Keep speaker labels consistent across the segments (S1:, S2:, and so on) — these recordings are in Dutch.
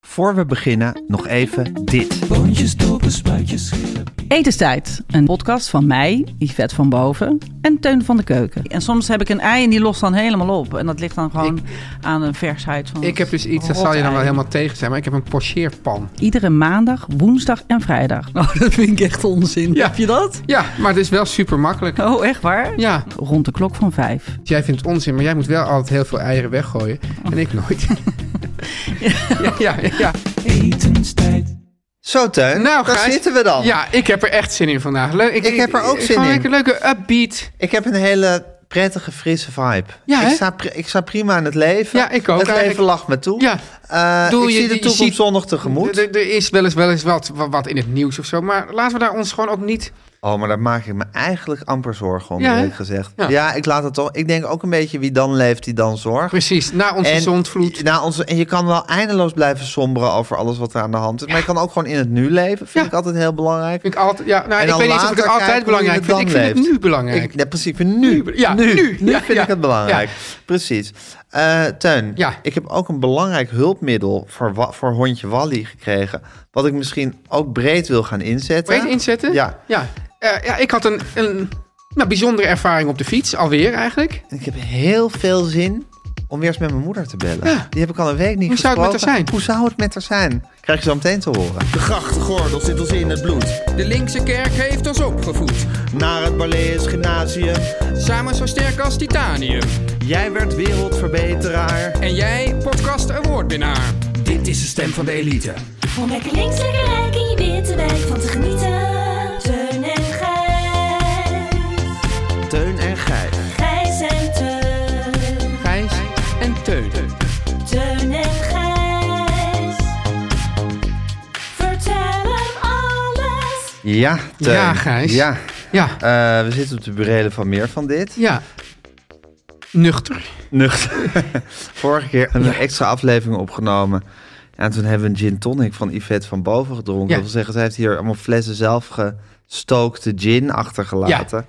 S1: Voor we beginnen, nog even dit.
S2: Etenstijd, een podcast van mij, Yvette van Boven en Teun van de Keuken. En soms heb ik een ei en die lost dan helemaal op. En dat ligt dan gewoon aan een versheid van
S3: Ik heb dus iets, dat zal je dan wel helemaal tegen zijn, maar ik heb een pocheerpan.
S2: Iedere maandag, woensdag en vrijdag. Oh, dat vind ik echt onzin.
S3: Ja.
S2: Heb je dat?
S3: Ja, maar het is wel super makkelijk.
S2: Oh, echt waar?
S3: Ja,
S2: Rond de klok van vijf.
S3: jij vindt het onzin, maar jij moet wel altijd heel veel eieren weggooien. En ik nooit. Ja, ja, ja.
S1: Zo, Teun, daar
S3: Nou, Gijs,
S1: zitten we dan.
S3: Ja, ik heb er echt zin in vandaag. Leuk,
S1: Ik heb er ook zin
S3: gewoon
S1: in.
S3: Een leuke upbeat.
S1: Ik heb een hele prettige, frisse vibe.
S3: Ja,
S1: ik,
S3: hè?
S1: sta, pri- ik sta prima in het leven.
S3: Ja, ik ook
S1: Het leven
S3: eigenlijk.
S1: lacht me toe.
S3: Ja.
S1: Eh,
S3: Doe
S1: ik
S3: je-
S1: zie de
S3: je
S1: toekomst
S3: ziet-
S1: zonnig tegemoet.
S3: Er, er- er is wel eens, wel eens wat, wa- wat in het nieuws of zo, maar laten we daar ons gewoon ook niet...
S1: Oh, maar daar maak ik me eigenlijk amper zorgen om,
S3: Ja, hè?
S1: eerlijk gezegd. Ja.
S3: Ja.
S1: ik laat het toch. Ik denk ook een beetje wie dan leeft, die dan zorgt.
S3: Precies, na onze
S1: En-
S3: zondvloed.
S1: Na onze, en je kan wel eindeloos blijven somberen over alles wat er aan de hand is. Maar je kan ook gewoon in het nu leven. Vind
S3: Ja.
S1: ik altijd heel belangrijk.
S3: Vind ik altijd, ja, nou,
S1: En
S3: ik
S1: dan
S3: weet niet of ik
S1: later
S3: het altijd
S1: kijken hoe je
S3: belangrijk
S1: het
S3: vind. Ik
S1: dan
S3: vind het
S1: leeft.
S3: nu belangrijk.
S1: Ik, ja, precies. Ik vind nu,
S3: Nu, ja,
S1: nu, nu,
S3: nu, ja,
S1: vind
S3: ja.
S1: ik het belangrijk. Precies. Eh Teun,
S3: Ja.
S1: ik heb ook een belangrijk hulpmiddel voor, wa- voor hondje Wally gekregen. Wat ik misschien ook breed wil gaan inzetten.
S3: Weet je inzetten?
S1: Ja.
S3: Ja, Eh, ja ik had een, een nou, bijzondere ervaring op de fiets, alweer eigenlijk.
S1: En ik heb heel veel zin om weer eens met mijn moeder te bellen.
S3: Ja.
S1: Die heb ik al een week niet
S3: Hoe zou het
S1: gesproken.
S3: met haar zijn?
S1: Hoe zou het met haar zijn? Krijg je zo meteen te horen.
S4: De grachtgordel zit ons in het bloed.
S5: De linkse kerk heeft ons opgevoed.
S4: Naar het Barlees Gymnasium.
S5: Samen zo sterk als titanium.
S4: Jij werd wereldverbeteraar.
S5: En jij, podcast awardwinnaar. Dit is de stem van de elite.
S6: Om lekker links, lekker rijk in je witte wijk van te genieten. Teun en Gijs.
S1: Teun en Gijs.
S6: Gijs en Teun.
S3: Gijs en Teun.
S6: Teun en Gijs. Vertel hem alles.
S1: Ja, Teun.
S3: Ja, Gijs.
S1: Ja.
S3: Ja,
S1: Eh, we zitten op de burelen van meer van dit.
S3: ja. Nuchter.
S1: Nuchter. Vorige keer hebben we een extra aflevering opgenomen. En toen hebben we een gin tonic van Yvette van Boven gedronken.
S3: Ja.
S1: Dat wil zeggen, zij heeft hier allemaal flessen zelf gestookte gin achtergelaten.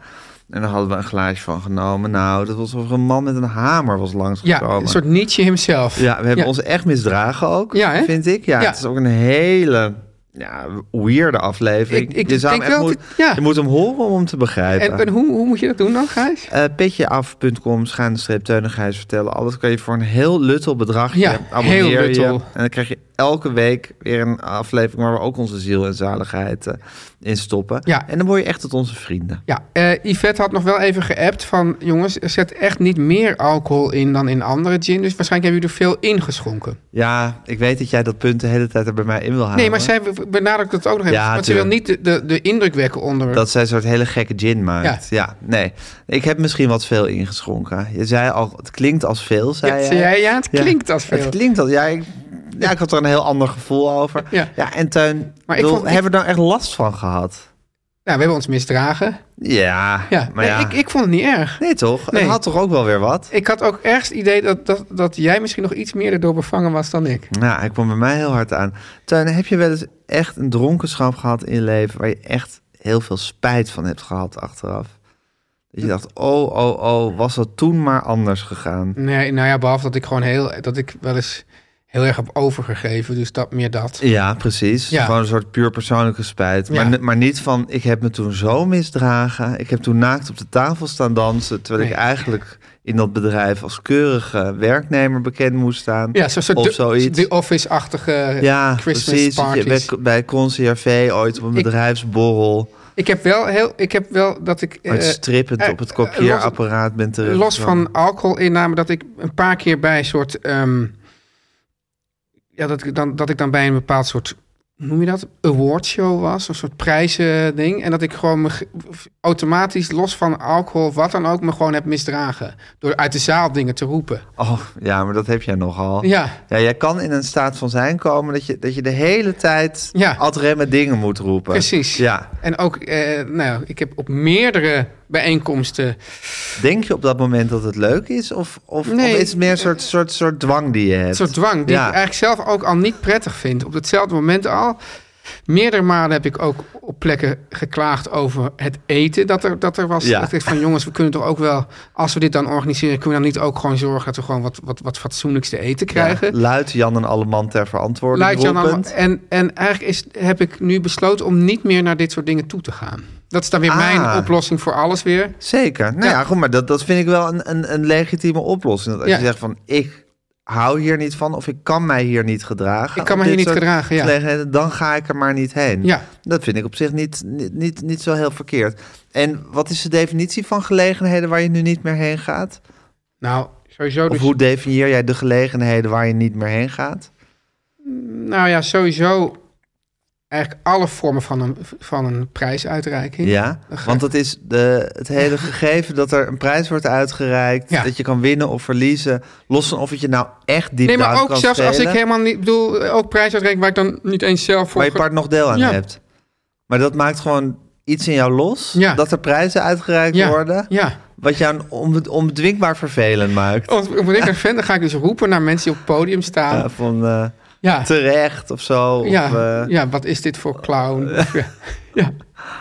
S1: En daar hadden we een glaasje van genomen. Nou, dat was alsof er een man met een hamer was
S3: Ja,
S1: langsgekomen.
S3: een soort Nietzsche himself.
S1: Ja, we hebben
S3: Ja.
S1: ons echt misdragen ook,
S3: Ja, hè?
S1: vind ik. Ja,
S3: Ja.
S1: het is ook een hele ja, weirde aflevering.
S3: Ik- ik
S1: je, zou hem
S3: denk
S1: echt
S3: wel
S1: moet,
S3: dat- ja.
S1: je moet hem horen om hem te begrijpen.
S3: En, en hoe, hoe moet je dat doen dan, Gijs?
S1: Eh, petjeaf.com, schuine-streep, teunigheid vertellen. Alles kan je voor een heel luttel bedragje
S3: Ja,
S1: abonneer
S3: heel
S1: je.
S3: luttel.
S1: En dan krijg je elke week weer een aflevering... waar we ook onze ziel en zaligheid eh, in stoppen.
S3: Ja.
S1: En dan word je echt tot onze vrienden.
S3: Ja, eh, Yvette had nog wel even geappt van... jongens, er zit echt niet meer alcohol in dan in andere gin. Dus waarschijnlijk hebben jullie er veel ingeschonken.
S1: Ja, ik weet dat jij dat punt de hele tijd er bij mij in wil halen.
S3: Nee, maar zij benadrukt dat ook nog even.
S1: Ah. Ja,
S3: want ze wil niet de, de, de indruk wekken onder...
S1: Dat zij een soort hele gekke gin maakt. Ja. nee. Ik heb misschien wat veel ingeschonken. Je zei al, het klinkt als veel, zei
S3: ja,
S1: jij.
S3: zei jij, ja, het
S1: Ja.
S3: klinkt als veel.
S1: Het klinkt als, ja, ik, ja, ik had er een heel ander gevoel over.
S3: Ja.
S1: en Teun,
S3: Maar
S1: maar
S3: ik vond- ik-
S1: hebben we daar echt last van gehad?
S3: Nou, we hebben ons misdragen.
S1: Ja,
S3: Ja,
S1: maar
S3: nee,
S1: ja.
S3: Ik, ik vond het niet erg.
S1: nee, toch?
S3: Nee.
S1: Het had toch ook wel weer wat?
S3: Ik had ook ergens het idee dat, dat, dat jij misschien nog iets meer erdoor bevangen was dan ik.
S1: Nou, hij kwam bij mij heel hard aan. Teun, heb je wel eens echt een dronkenschap gehad in je leven... waar je echt heel veel spijt van hebt gehad achteraf? Dat je dacht, oh, oh, oh, was dat toen maar anders gegaan?
S3: Nee, nou ja, behalve dat ik gewoon heel, dat ik wel eens heel erg heb overgegeven. Dus dat, meer dat.
S1: Ja, precies.
S3: Ja.
S1: Gewoon een soort puur persoonlijke spijt. Maar,
S3: Ja.
S1: ni- maar niet van, ik heb me toen zo misdragen. Ik heb toen naakt op de tafel staan dansen. Terwijl ik
S3: Nee.
S1: eigenlijk in dat bedrijf als keurige werknemer bekend moest staan.
S3: Ja, zo'n soort
S1: of
S3: de-
S1: zoiets.
S3: The Office-achtige
S1: ja,
S3: Christmas
S1: precies. Dat je
S3: parties.
S1: Bij, bij Concierge ooit op een
S3: Ik-
S1: bedrijfsborrel
S3: Ik heb wel heel, ik heb wel dat ik eh,
S1: ooit strippend
S3: eh,
S1: op het kopieerapparaat bent terecht.
S3: los van alcoholinname dat ik een paar keer bij een soort ehm, ja dat ik dan dat ik dan bij een bepaald soort hoe noem je dat awardshow was, een soort prijzen ding en dat ik gewoon me ge- automatisch los van alcohol wat dan ook me gewoon heb misdragen door uit de zaal dingen te roepen.
S1: Oh, ja, maar dat heb jij nogal.
S3: Ja.
S1: Ja, jij kan in een staat van zijn komen dat je, dat je de hele tijd
S3: Ja.
S1: ad remme dingen moet roepen.
S3: Precies.
S1: Ja.
S3: En ook, eh, nou, ik heb op meerdere bijeenkomsten.
S1: Denk je op dat moment dat het leuk is? Of, of,
S3: Nee.
S1: of is het meer een soort, soort, soort dwang die je hebt?
S3: Een soort dwang die
S1: Ja.
S3: ik eigenlijk zelf ook al niet prettig vind. Op hetzelfde moment al. Meerdere malen heb ik ook op plekken geklaagd over het eten dat er, dat er was.
S1: Ja.
S3: Dat ik van jongens, we kunnen toch ook wel, als we dit dan organiseren, kunnen we dan niet ook gewoon zorgen dat we gewoon wat, wat, wat fatsoenlijks te eten krijgen.
S1: Ja, luid Jan en Alleman ter verantwoording
S3: Lijkt je dan allemaal-
S1: roepend.
S3: en, en eigenlijk is, heb ik nu besloten om niet meer naar dit soort dingen toe te gaan. Dat is dan weer
S1: Ah.
S3: mijn oplossing voor alles weer.
S1: Zeker. Nou ja,
S3: Ja.
S1: goed, maar dat, dat vind ik wel een, een, een legitieme oplossing. Dat als
S3: Ja.
S1: je zegt van, ik hou hier niet van of ik kan mij hier niet gedragen.
S3: Ik kan me
S1: op
S3: hier
S1: dit
S3: niet
S1: soort
S3: gedragen, ja.
S1: gelegenheden, Dan ga ik er maar niet heen.
S3: Ja.
S1: Dat vind ik op zich niet, niet, niet, niet zo heel verkeerd. En wat is de definitie van gelegenheden waar je nu niet meer heen gaat?
S3: Nou, sowieso
S1: Of
S3: dus...
S1: hoe definieer jij de gelegenheden waar je niet meer heen gaat?
S3: Nou ja, sowieso eigenlijk alle vormen van een, van een prijsuitreiking.
S1: Ja, want dat is de, het hele gegeven dat er een prijs wordt uitgereikt.
S3: Ja.
S1: Dat je kan winnen of verliezen. Los van of het je nou echt diep
S3: Nee, maar
S1: down
S3: ook
S1: kan
S3: zelfs als ik
S1: schelen,
S3: helemaal niet bedoel, eh, ook prijsuitreiking waar ik dan niet eens zelf voor.
S1: Waar je
S3: ge-
S1: part nog deel aan
S3: Ja.
S1: hebt. Maar dat maakt gewoon iets in jou los.
S3: Ja.
S1: Dat er prijzen uitgereikt
S3: ja,
S1: worden.
S3: Ja.
S1: Wat jou onbe- onbedwingbaar vervelend maakt.
S3: Want Omdat ik er fan, dan ga ik dus roepen naar mensen die op het podium staan.
S1: Ja, van eh,
S3: ja.
S1: terecht of zo.
S3: ja,
S1: Of, eh,
S3: ja, wat is dit voor clown? ja. ja.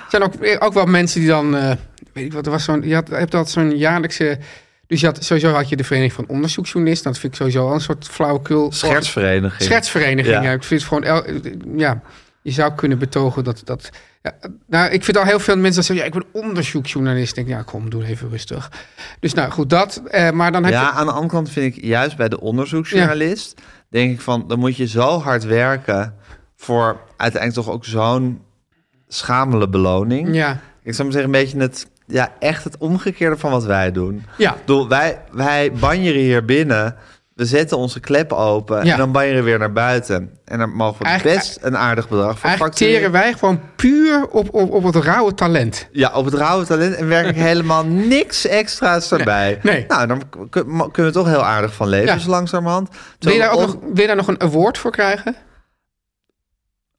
S3: Er zijn ook, ook wel mensen die dan, eh, weet ik wat, er was zo'n, je, had, je hebt altijd zo'n jaarlijkse, dus je had, sowieso had je de Vereniging van Onderzoeksjournalisten, dat vind ik sowieso al een soort flauwekul.
S1: Schertsvereniging.
S3: Schetsvereniging.
S1: Ja.
S3: Ja. Ik vind het gewoon. el- Ja, je zou kunnen betogen dat. dat ja, nou, ik vind al heel veel mensen dat zeggen: ja, ik ben onderzoeksjournalist. Ik denk, ja, kom, doe even rustig. Dus nou goed, dat. eh, maar dan heb
S1: Ja,
S3: je.
S1: aan de andere kant vind ik juist bij de onderzoeksjournalist... denk ik van, dan moet je zo hard werken... voor uiteindelijk toch ook zo'n schamele beloning.
S3: Ja,
S1: Ik zou maar zeggen, een beetje het... Ja, echt het omgekeerde van wat wij doen.
S3: Ja.
S1: Ik bedoel, wij, wij banjeren hier binnen... We zetten onze klep open
S3: Ja.
S1: en dan banjeren we weer naar buiten. En dan mogen we
S3: Eigenlijk-
S1: best een aardig bedrag voor
S3: eigenlijk
S1: factureren.
S3: teren wij gewoon puur op, op, op het rauwe talent.
S1: Ja, op het rauwe talent en werk ik helemaal niks extra's erbij.
S3: nee.
S1: Nou, dan k- k- mo- kunnen we toch heel aardig van leven,
S3: Ja.
S1: zo langzamerhand.
S3: Wil je, daar ook
S1: Zo,
S3: nog, wil je daar nog een award voor krijgen?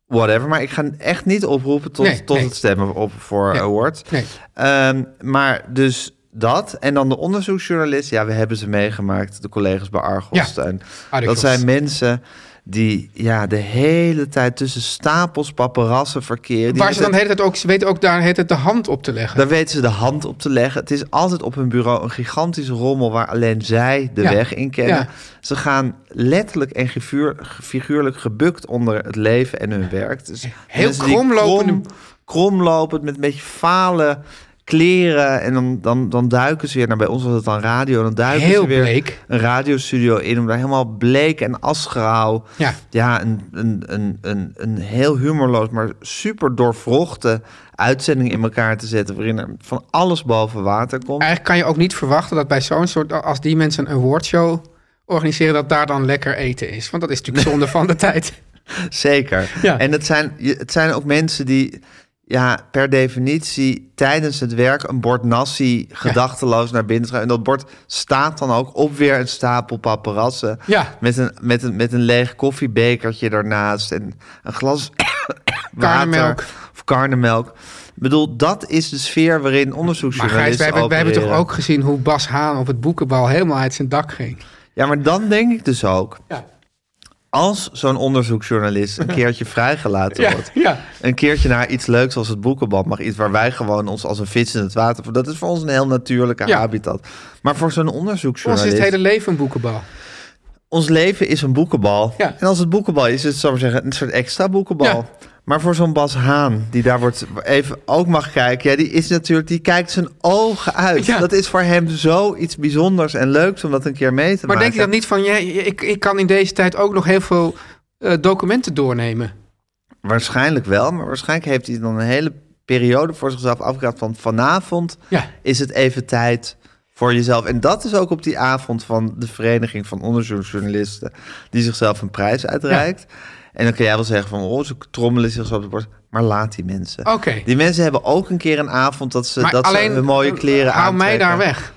S1: Whatever, maar ik ga echt niet oproepen tot,
S3: Nee,
S1: tot
S3: nee.
S1: het stemmen op voor
S3: Nee,
S1: award.
S3: nee.
S1: Ehm, maar dus dat. En dan de onderzoeksjournalist. Ja, we hebben ze meegemaakt, de collega's bij Argos.
S3: Ja,
S1: En dat
S3: Argos.
S1: zijn mensen die ja, de hele tijd tussen stapels paparazzen verkeren. Die
S3: Waar ze dan de hele tijd ook, ze weten ook daar de hele tijd de hand op te leggen.
S1: Daar weten ze de hand op te leggen. Het is altijd op hun bureau een gigantische rommel waar alleen zij de
S3: Ja.
S1: weg in kennen.
S3: Ja.
S1: Ze gaan letterlijk en gevuur- figuurlijk gebukt onder het leven en hun werk. Dus
S3: Heel
S1: mensen die
S3: kromlopende-
S1: Krom, kromlopend met een beetje falen kleren. En dan, dan, dan duiken ze weer, nou bij ons was het dan radio, dan duiken
S3: Heel
S1: ze weer
S3: bleek.
S1: een radiostudio in om daar helemaal bleek en asgrauw.
S3: Ja.
S1: Ja, een, een, een, een, een heel humorloos, maar super doorvrochte uitzending in elkaar te zetten. Waarin er van alles boven water komt.
S3: Eigenlijk kan je ook niet verwachten dat bij zo'n soort, als die mensen een awardshow organiseren, dat daar dan lekker eten is. Want dat is natuurlijk zonde van de tijd.
S1: Zeker.
S3: Ja.
S1: En het zijn, je- het zijn ook mensen die ja, per definitie tijdens het werk een bord nasi gedachteloos naar binnen schuiven. En dat bord staat dan ook op weer een stapel paparazzen.
S3: Ja.
S1: Met, een, met, een, met een leeg koffiebekertje daarnaast en een glas water
S3: Karnemelk.
S1: of karnemelk. Ik bedoel, dat is de sfeer waarin
S3: Maar Gijs,
S1: onderzoeksjournalisten
S3: wij hebben, wij hebben toch
S1: opereren.
S3: ook gezien hoe Bas Haan op het boekenbal helemaal uit zijn dak ging.
S1: Ja, maar dan denk ik dus ook...
S3: Ja.
S1: als zo'n onderzoeksjournalist een keertje vrijgelaten
S3: Ja,
S1: wordt...
S3: ja.
S1: een keertje naar iets leuks als het boekenband mag... iets waar wij gewoon ons als een vis in het water... dat is voor ons een heel natuurlijke
S3: Ja.
S1: habitat. Maar voor zo'n
S3: Voor ons is
S1: onderzoeksjournalist...
S3: het hele leven een boekenbal.
S1: ons leven is een boekenbal.
S3: Ja.
S1: En als het boekenbal is, is het, zal ik maar zeggen, een soort extra boekenbal.
S3: Ja.
S1: Maar voor zo'n Bas Haan, die daar wordt even ook mag kijken, ja, die is natuurlijk, die kijkt zijn ogen uit.
S3: Ja.
S1: Dat is voor hem zoiets bijzonders en leuks om dat een keer mee te
S3: Maar
S1: maken.
S3: denk je dat niet van, ja, ik, ik kan in deze tijd ook nog heel veel eh, documenten doornemen?
S1: Waarschijnlijk wel, maar waarschijnlijk heeft hij dan een hele periode voor zichzelf afgeraad van vanavond
S3: Ja.
S1: is het even tijd voor jezelf. En dat is ook op die avond van de Vereniging van Onderzoeksjournalisten die zichzelf een prijs uitreikt. En dan kun jij wel zeggen van, oh, ze trommelen zich zo op de borst. Maar laat die mensen.
S3: Oké.
S1: Die mensen hebben ook een keer een avond dat ze,
S3: Maar
S1: dat
S3: alleen,
S1: ze hun mooie kleren
S3: hou
S1: aantrekken.
S3: mij daar weg.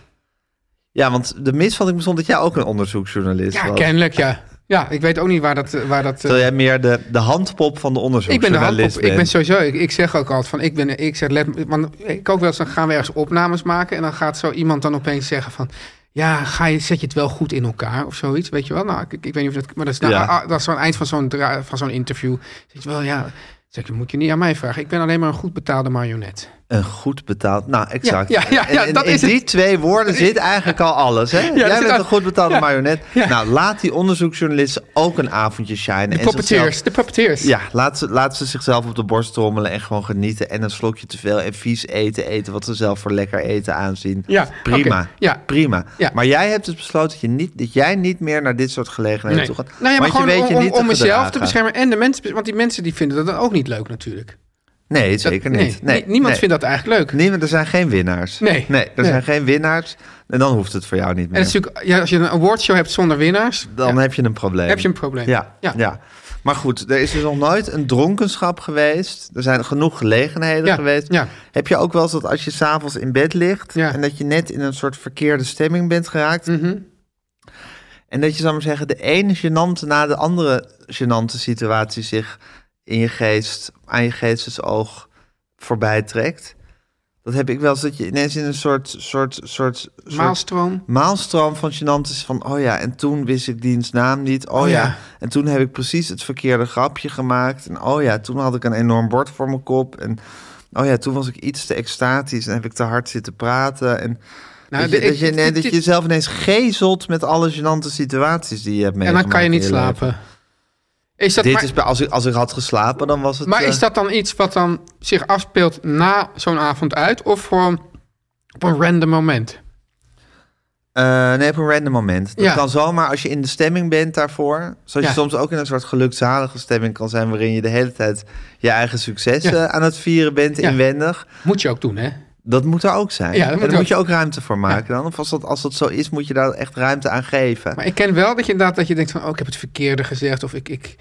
S1: Ja, want de misvatting bestond dat jij ook een onderzoeksjournalist
S3: Ja,
S1: was.
S3: kennelijk, ja. Ja, ik weet ook niet waar dat... eh, Waar dat eh,
S1: Terwijl jij meer de, de handpop van de
S3: ik ben de
S1: onderzoeksjournalist
S3: handpop. Ik ben
S1: bent.
S3: sowieso, ik, ik zeg ook altijd van, ik ben, ik zeg let, want ik ook wel eens, dan gaan we ergens opnames maken en dan gaat zo iemand dan opeens zeggen van, ja, ga je, zet je het wel goed in elkaar of zoiets, weet je wel? Nou, ik, ik weet niet of dat, maar dat is, nou,
S1: Ja.
S3: ah, ah, dat is aan het eind van zo'n, dra- van zo'n interview, zeg je wel, ja, zeg je, moet je niet aan mij vragen, ik ben alleen maar een goed betaalde marionet.
S1: Een goed betaald. Nou, exact.
S3: Ja, ja, ja,
S1: En in,
S3: dat
S1: in
S3: is het.
S1: die twee woorden zit eigenlijk al alles. Hè?
S3: dat
S1: Jij
S3: zit
S1: bent
S3: al-
S1: een goed betaalde
S3: Ja,
S1: marionet.
S3: ja.
S1: Nou, laat die onderzoeksjournalisten ook een avondje shinen.
S3: De
S1: en zichzelf-
S3: puppeteers, de puppeteers.
S1: Ja, laat ze, laat ze zichzelf op de borst trommelen en gewoon genieten. En een slokje te veel en vies eten eten, wat ze zelf voor lekker eten aanzien.
S3: Ja,
S1: prima.
S3: oké, ja.
S1: prima.
S3: Ja.
S1: Maar jij hebt dus besloten dat, je niet, dat jij niet meer naar dit soort gelegenheden
S3: Nee.
S1: toe gaat.
S3: Nou ja, maar
S1: Want
S3: gewoon
S1: je weet
S3: om,
S1: je
S3: om,
S1: niet
S3: om mezelf te
S1: gedragen.
S3: beschermen en de mensen, want die mensen die vinden dat dan ook niet leuk natuurlijk.
S1: Nee,
S3: Dat-
S1: zeker niet. Nee,
S3: ni- niemand
S1: nee.
S3: vindt dat eigenlijk leuk.
S1: Nee, want er zijn geen winnaars.
S3: Nee.
S1: nee er
S3: Nee.
S1: zijn geen winnaars. En dan hoeft het voor jou niet meer.
S3: En het is natuurlijk, ja, als je een awardshow hebt zonder winnaars,
S1: Dan heb je een probleem.
S3: heb je een probleem.
S1: Ja, ja.
S3: Ja.
S1: Maar goed, er is dus nog nooit een dronkenschap geweest. Er zijn genoeg gelegenheden
S3: Ja,
S1: geweest.
S3: ja.
S1: Heb je ook wel eens dat als je s'avonds in bed ligt...
S3: Ja. Mhm.
S1: en dat je net in een soort verkeerde stemming bent geraakt... en dat je, zal ik maar zeggen, de ene gênante na de andere gênante situatie... zich in je geest, aan je geestes oog voorbij trekt... Dat heb ik wel eens, dat je ineens in een soort, soort, soort, soort
S3: Maalstroom.
S1: maalstroom van gênant is van... oh ja, en toen wist ik diens naam niet. Oh,
S3: Oh
S1: ja.
S3: ja.
S1: en toen heb ik precies het verkeerde grapje gemaakt. En oh ja, toen had ik een enorm bord voor mijn kop. En oh ja, toen was ik iets te extatisch en heb ik te hard zitten praten. En
S3: Nou,
S1: dat, je,
S3: dit-
S1: dat, je,
S3: dit-
S1: nee,
S3: dit-
S1: dat je
S3: dit-
S1: jezelf ineens gezelt met alle gênante situaties die je hebt
S3: En
S1: meegemaakt.
S3: dan kan je
S1: in
S3: niet
S1: leven.
S3: slapen. Is dat,
S1: Dit
S3: maar,
S1: is, bij- als, ik, als ik had geslapen, dan was het...
S3: maar
S1: eh,
S3: is dat dan iets wat dan zich afspeelt na zo'n avond uit? Of gewoon op een random moment?
S1: Eh, nee, op een random moment. Dat
S3: Ja.
S1: kan zomaar als je in de stemming bent daarvoor. Zoals je
S3: Ja.
S1: soms ook in een soort gelukzalige stemming kan zijn... waarin je de hele tijd je eigen succes
S3: Ja.
S1: eh, aan het vieren bent
S3: Ja.
S1: inwendig.
S3: Moet je ook doen, hè?
S1: Dat moet er ook zijn.
S3: Ja, dat
S1: en
S3: moet
S1: daar
S3: er
S1: moet je
S3: ook-
S1: ook ruimte voor maken dan. Of als dat, als dat zo is, moet je daar echt ruimte aan geven.
S3: Maar ik ken wel dat je inderdaad dat je denkt van... oh, ik heb het verkeerde gezegd. Of ik... ik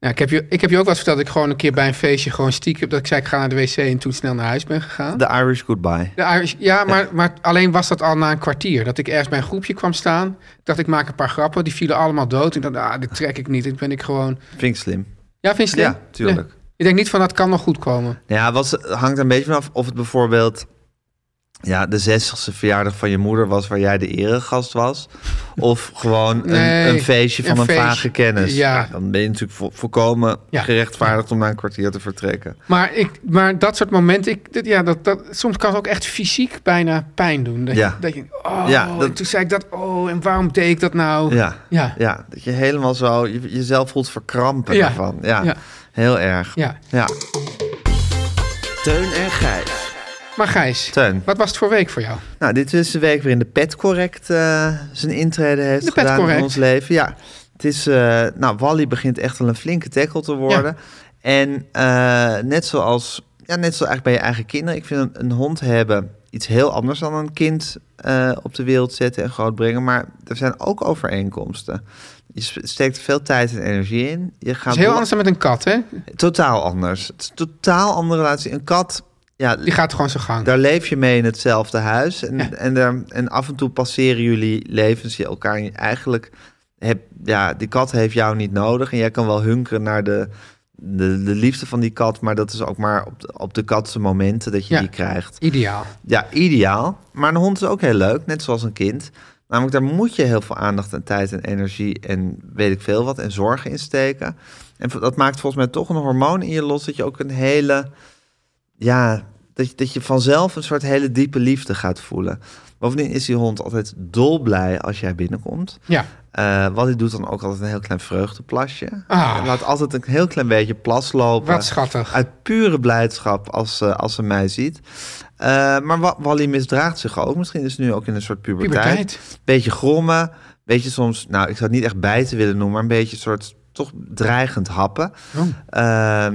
S3: nou, ik heb, je, ik heb je ook wel eens verteld dat ik gewoon een keer bij een feestje gewoon stiekem... dat ik zei ik ga naar de wc en toen snel naar huis ben gegaan.
S1: De Irish goodbye.
S3: De Irish- ja, maar, maar alleen was dat al na een kwartier. Dat ik ergens bij een groepje kwam staan. Ik dacht, ik maak een paar grappen. Die vielen allemaal dood. Ik dacht, ah, dit trek ik niet. Dit ben ik gewoon...
S1: Vind ik slim.
S3: Ja, vind je het
S1: Ja,
S3: slim?
S1: tuurlijk.
S3: Ja. Ik denk niet van, dat kan nog goed komen.
S1: Nou ja, was, hangt er een beetje vanaf of het bijvoorbeeld ja, de 60ste verjaardag van je moeder was waar jij de eregast was. Of gewoon een,
S3: Nee,
S1: een feestje van
S3: een
S1: een,
S3: feestje.
S1: vage kennis.
S3: Ja.
S1: dan ben je natuurlijk vo- volkomen
S3: Ja.
S1: gerechtvaardigd om na een kwartier te vertrekken.
S3: Maar, ik, maar dat soort momenten... Ik, dit- ja, dat, dat, soms kan het ook echt fysiek bijna pijn doen. Dat, je-
S1: Ja.
S3: dat je, oh,
S1: Ja, dat-
S3: en toen zei ik dat. Oh, en waarom deed ik dat nou?
S1: Ja.
S3: Ja.
S1: ja, dat je helemaal zo je- jezelf voelt verkrampen
S3: Ja.
S1: daarvan. Ja.
S3: Ja.
S1: heel erg.
S3: Ja.
S1: ja.
S4: Teun en Gijs.
S3: Maar Gijs,
S1: Teun.
S3: wat was het voor week voor jou?
S1: Nou, dit is de week waarin de Pet Correct eh, zijn intrede heeft
S3: De Pet
S1: gedaan in
S3: Correct.
S1: ons leven. Ja, het is, eh, nou, Wally begint echt wel een flinke tackle te worden. En eh, net zoals, ja, net zo eigenlijk bij je eigen kinderen. Ik vind een, een hond hebben iets heel anders dan een kind eh, op de wereld zetten en grootbrengen. Maar er zijn ook overeenkomsten. Je sp- steekt veel tijd en energie in. Je gaat
S3: Het is heel
S1: door-
S3: anders dan met een kat, hè?
S1: Totaal anders. Het is een totaal andere relatie. Een kat, ja,
S3: Die gaat gewoon zijn gang.
S1: daar leef je mee in hetzelfde huis. En,
S3: Ja.
S1: en, daar- en af en toe passeren jullie levens je elkaar. En eigenlijk, heb, ja, die kat heeft jou niet nodig. En jij kan wel hunkeren naar de, de, de liefde van die kat. Maar dat is ook maar op de, op de katse momenten dat je
S3: Ja.
S1: die krijgt.
S3: Ideaal.
S1: Ja, ideaal. Maar een hond is ook heel leuk, net zoals een kind. Namelijk, daar moet je heel veel aandacht en tijd en energie en weet ik veel wat en zorgen in steken. En v- dat maakt volgens mij toch een hormoon in je los dat je ook een hele, ja, dat, je- dat je vanzelf een soort hele diepe liefde gaat voelen. Bovendien is die hond altijd dolblij als jij binnenkomt.
S3: Ja.
S1: Eh, wat hij doet dan ook altijd een heel klein vreugdeplasje.
S3: Ah.
S1: Hij laat altijd een heel klein beetje plas lopen.
S3: Wat schattig.
S1: Uit pure blijdschap als, ze als ze mij ziet. Eh, maar Wa- Wally misdraagt zich ook. Misschien is ze nu ook in een soort puberteit.
S3: Puberteit.
S1: Beetje grommen. Beetje soms, nou ik zou het niet echt bijten willen noemen. Maar een beetje soort toch dreigend happen.
S3: Oh.
S1: Ehm,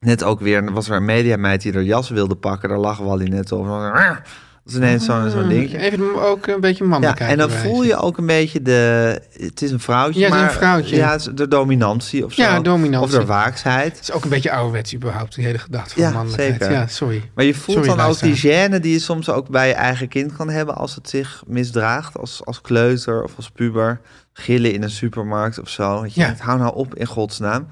S1: net ook weer, was er een mediameid die haar jas wilde pakken. Daar lag Wally net over. eh, Dat is ineens zo'n zo'n dingetje.
S3: Hmm. Even ook Ah, een beetje
S1: Ja,
S3: mannelijkheid.
S1: en dan
S3: bewijzen.
S1: voel je ook een beetje de... Het is een vrouwtje,
S3: Ja, het is een
S1: maar...
S3: vrouwtje.
S1: Ja, het is de dominantie of zo.
S3: Ja, dominantie.
S1: Of de waaksheid.
S3: Het is ook een beetje ouderwets überhaupt, die hele gedachte van
S1: Ja,
S3: mannelijkheid.
S1: zeker.
S3: Ja, sorry.
S1: Maar je voelt
S3: Sorry,
S1: dan ook die
S3: luisteraar.
S1: gêne die je soms ook bij je eigen kind kan hebben... als het zich misdraagt als, als kleuter of als puber. Gillen in een supermarkt of zo. Dat je
S3: Ja.
S1: denkt, hou nou op in godsnaam.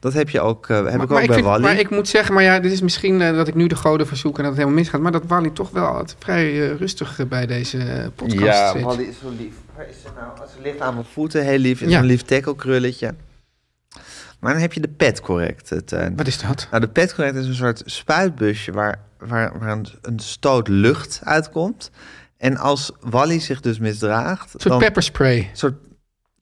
S1: Dat heb, je ook, eh, heb ik ook
S3: maar,
S1: bij
S3: vind-
S1: Wally.
S3: maar ik moet zeggen, maar ja, dit is misschien eh, dat ik nu de goden verzoek en dat het helemaal misgaat. Maar dat Wally toch wel het vrij eh, rustig eh, bij deze eh, podcast zit.
S1: is zo lief. Waar is ze nou? Ze ligt aan mijn voeten, heel lief. In
S3: Ja.
S1: zo'n lief tackle-krulletje. Maar dan heb je de pet correct, eh, Teun.
S3: Wat is dat?
S1: Nou, de petcorrect is een soort spuitbusje waar, waar, waar een, een stoot lucht uitkomt. En als Wally zich dus misdraagt...
S3: Een soort pepperspray.
S1: Een soort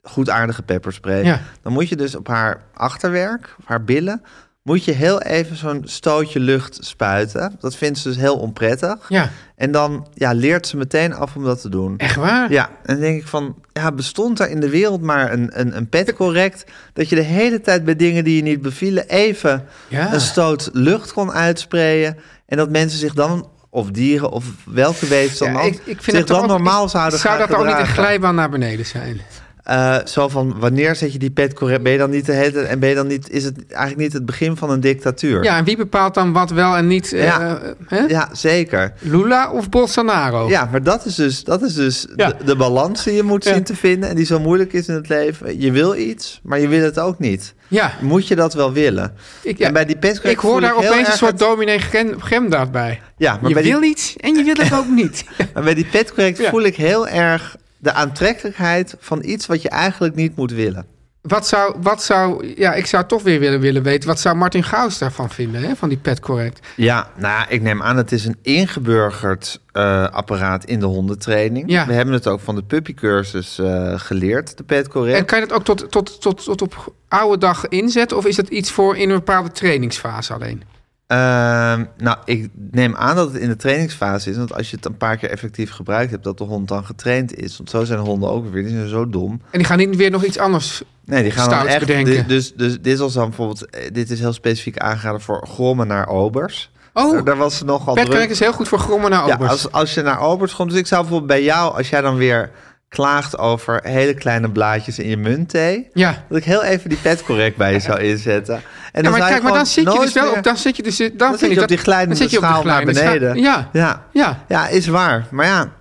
S1: goedaardige pepperspray.
S3: Ja.
S1: Dan moet je dus op haar achterwerk, op haar billen... moet je heel even zo'n stootje lucht spuiten. Dat vindt ze dus heel onprettig.
S3: Ja,
S1: En dan ja, leert ze meteen af om dat te doen.
S3: echt waar?
S1: Ja, en dan denk ik van, ja, bestond er in de wereld maar een, een, een pet correct... dat je de hele tijd bij dingen die je niet bevielen even
S3: Ja.
S1: een stoot lucht kon uitsprayen... en dat mensen zich dan, of dieren, of welke wezen
S3: Ja,
S1: dan ook...
S3: ik, ik vind
S1: zich
S3: dat
S1: dan
S3: ook-
S1: normaal
S3: ik-
S1: zouden
S3: Zou
S1: gaan
S3: dat ook niet een
S1: gedragen.
S3: glijbaan naar beneden zijn?
S1: Eh, zo van, wanneer zet je die pet correct? Ben je dan niet de hele tijd- en ben je dan niet, is het eigenlijk niet het begin van een dictatuur?
S3: Ja, en wie bepaalt dan wat wel en niet? eh,
S1: Ja.
S3: hè?
S1: Ja, zeker.
S3: Lula of Bolsonaro?
S1: Ja, maar dat is dus, dat is dus
S3: Ja.
S1: de, de balans die je moet
S3: Ja.
S1: zien te vinden en die zo moeilijk is in het leven. Je wil iets, maar je wil het ook niet.
S3: Ja.
S1: Moet je dat wel willen?
S3: Ik, ja.
S1: En bij die pet
S3: ik hoor daar opeens een soort dominee Gem- Gemdaad bij.
S1: Ja, maar
S3: je
S1: bij die-
S3: wil iets en je wil het ook niet.
S1: Maar bij die petcorrect
S3: Ja.
S1: voel ik heel erg de aantrekkelijkheid van iets wat je eigenlijk niet moet willen.
S3: Wat zou, wat zou, ja, ik zou toch weer willen, willen weten, wat zou Martin Gauws daarvan vinden, hè, van die pet correct?
S1: Ja, nou, ik neem aan, het is een ingeburgerd eh, apparaat in de hondentraining.
S3: Ja.
S1: We hebben het ook van de puppycursus eh, geleerd, de
S3: En
S1: petcorrect.
S3: kan je dat ook tot, tot, tot, tot op oude dag inzetten, of is dat iets voor in een bepaalde trainingsfase alleen?
S1: Ehm, nou, ik neem aan dat het in de trainingsfase is. Want als je het een paar keer effectief gebruikt hebt, dat de hond dan getraind is. Want zo zijn honden ook weer, die zijn zo dom.
S3: En die gaan niet weer nog iets anders.
S1: Nee, die gaan dan
S3: Stout
S1: echt...
S3: bedenken.
S1: di- Dus, dus dit was dan bijvoorbeeld... eh, Dit is heel specifiek aangeraden voor grommen naar obers.
S3: Oh,
S1: Daar- Daar was ze nogal
S3: pet
S1: druk.
S3: correct is heel goed voor grommen naar
S1: Ja,
S3: obers.
S1: als, als je naar Albert komt. Dus ik zou bijvoorbeeld bij jou, als jij dan weer klaagt over hele kleine blaadjes in je muntthee.
S3: Ja.
S1: Dat ik heel even die pet correct bij je zou inzetten. En
S3: Ja, maar
S1: zou
S3: kijk, maar
S1: gewoon
S3: dan zit je
S1: nooit
S3: dus wel
S1: meer-
S3: op, dan zit je dus, dan,
S1: dan
S3: vind
S1: zit
S3: ik
S1: je op
S3: dat-
S1: die glijdende
S3: dan zit je op die
S1: schaal naar
S3: glijdende schaal.
S1: beneden.
S3: Ja,
S1: ja.
S3: ja.
S1: Ja, is waar. Maar ja,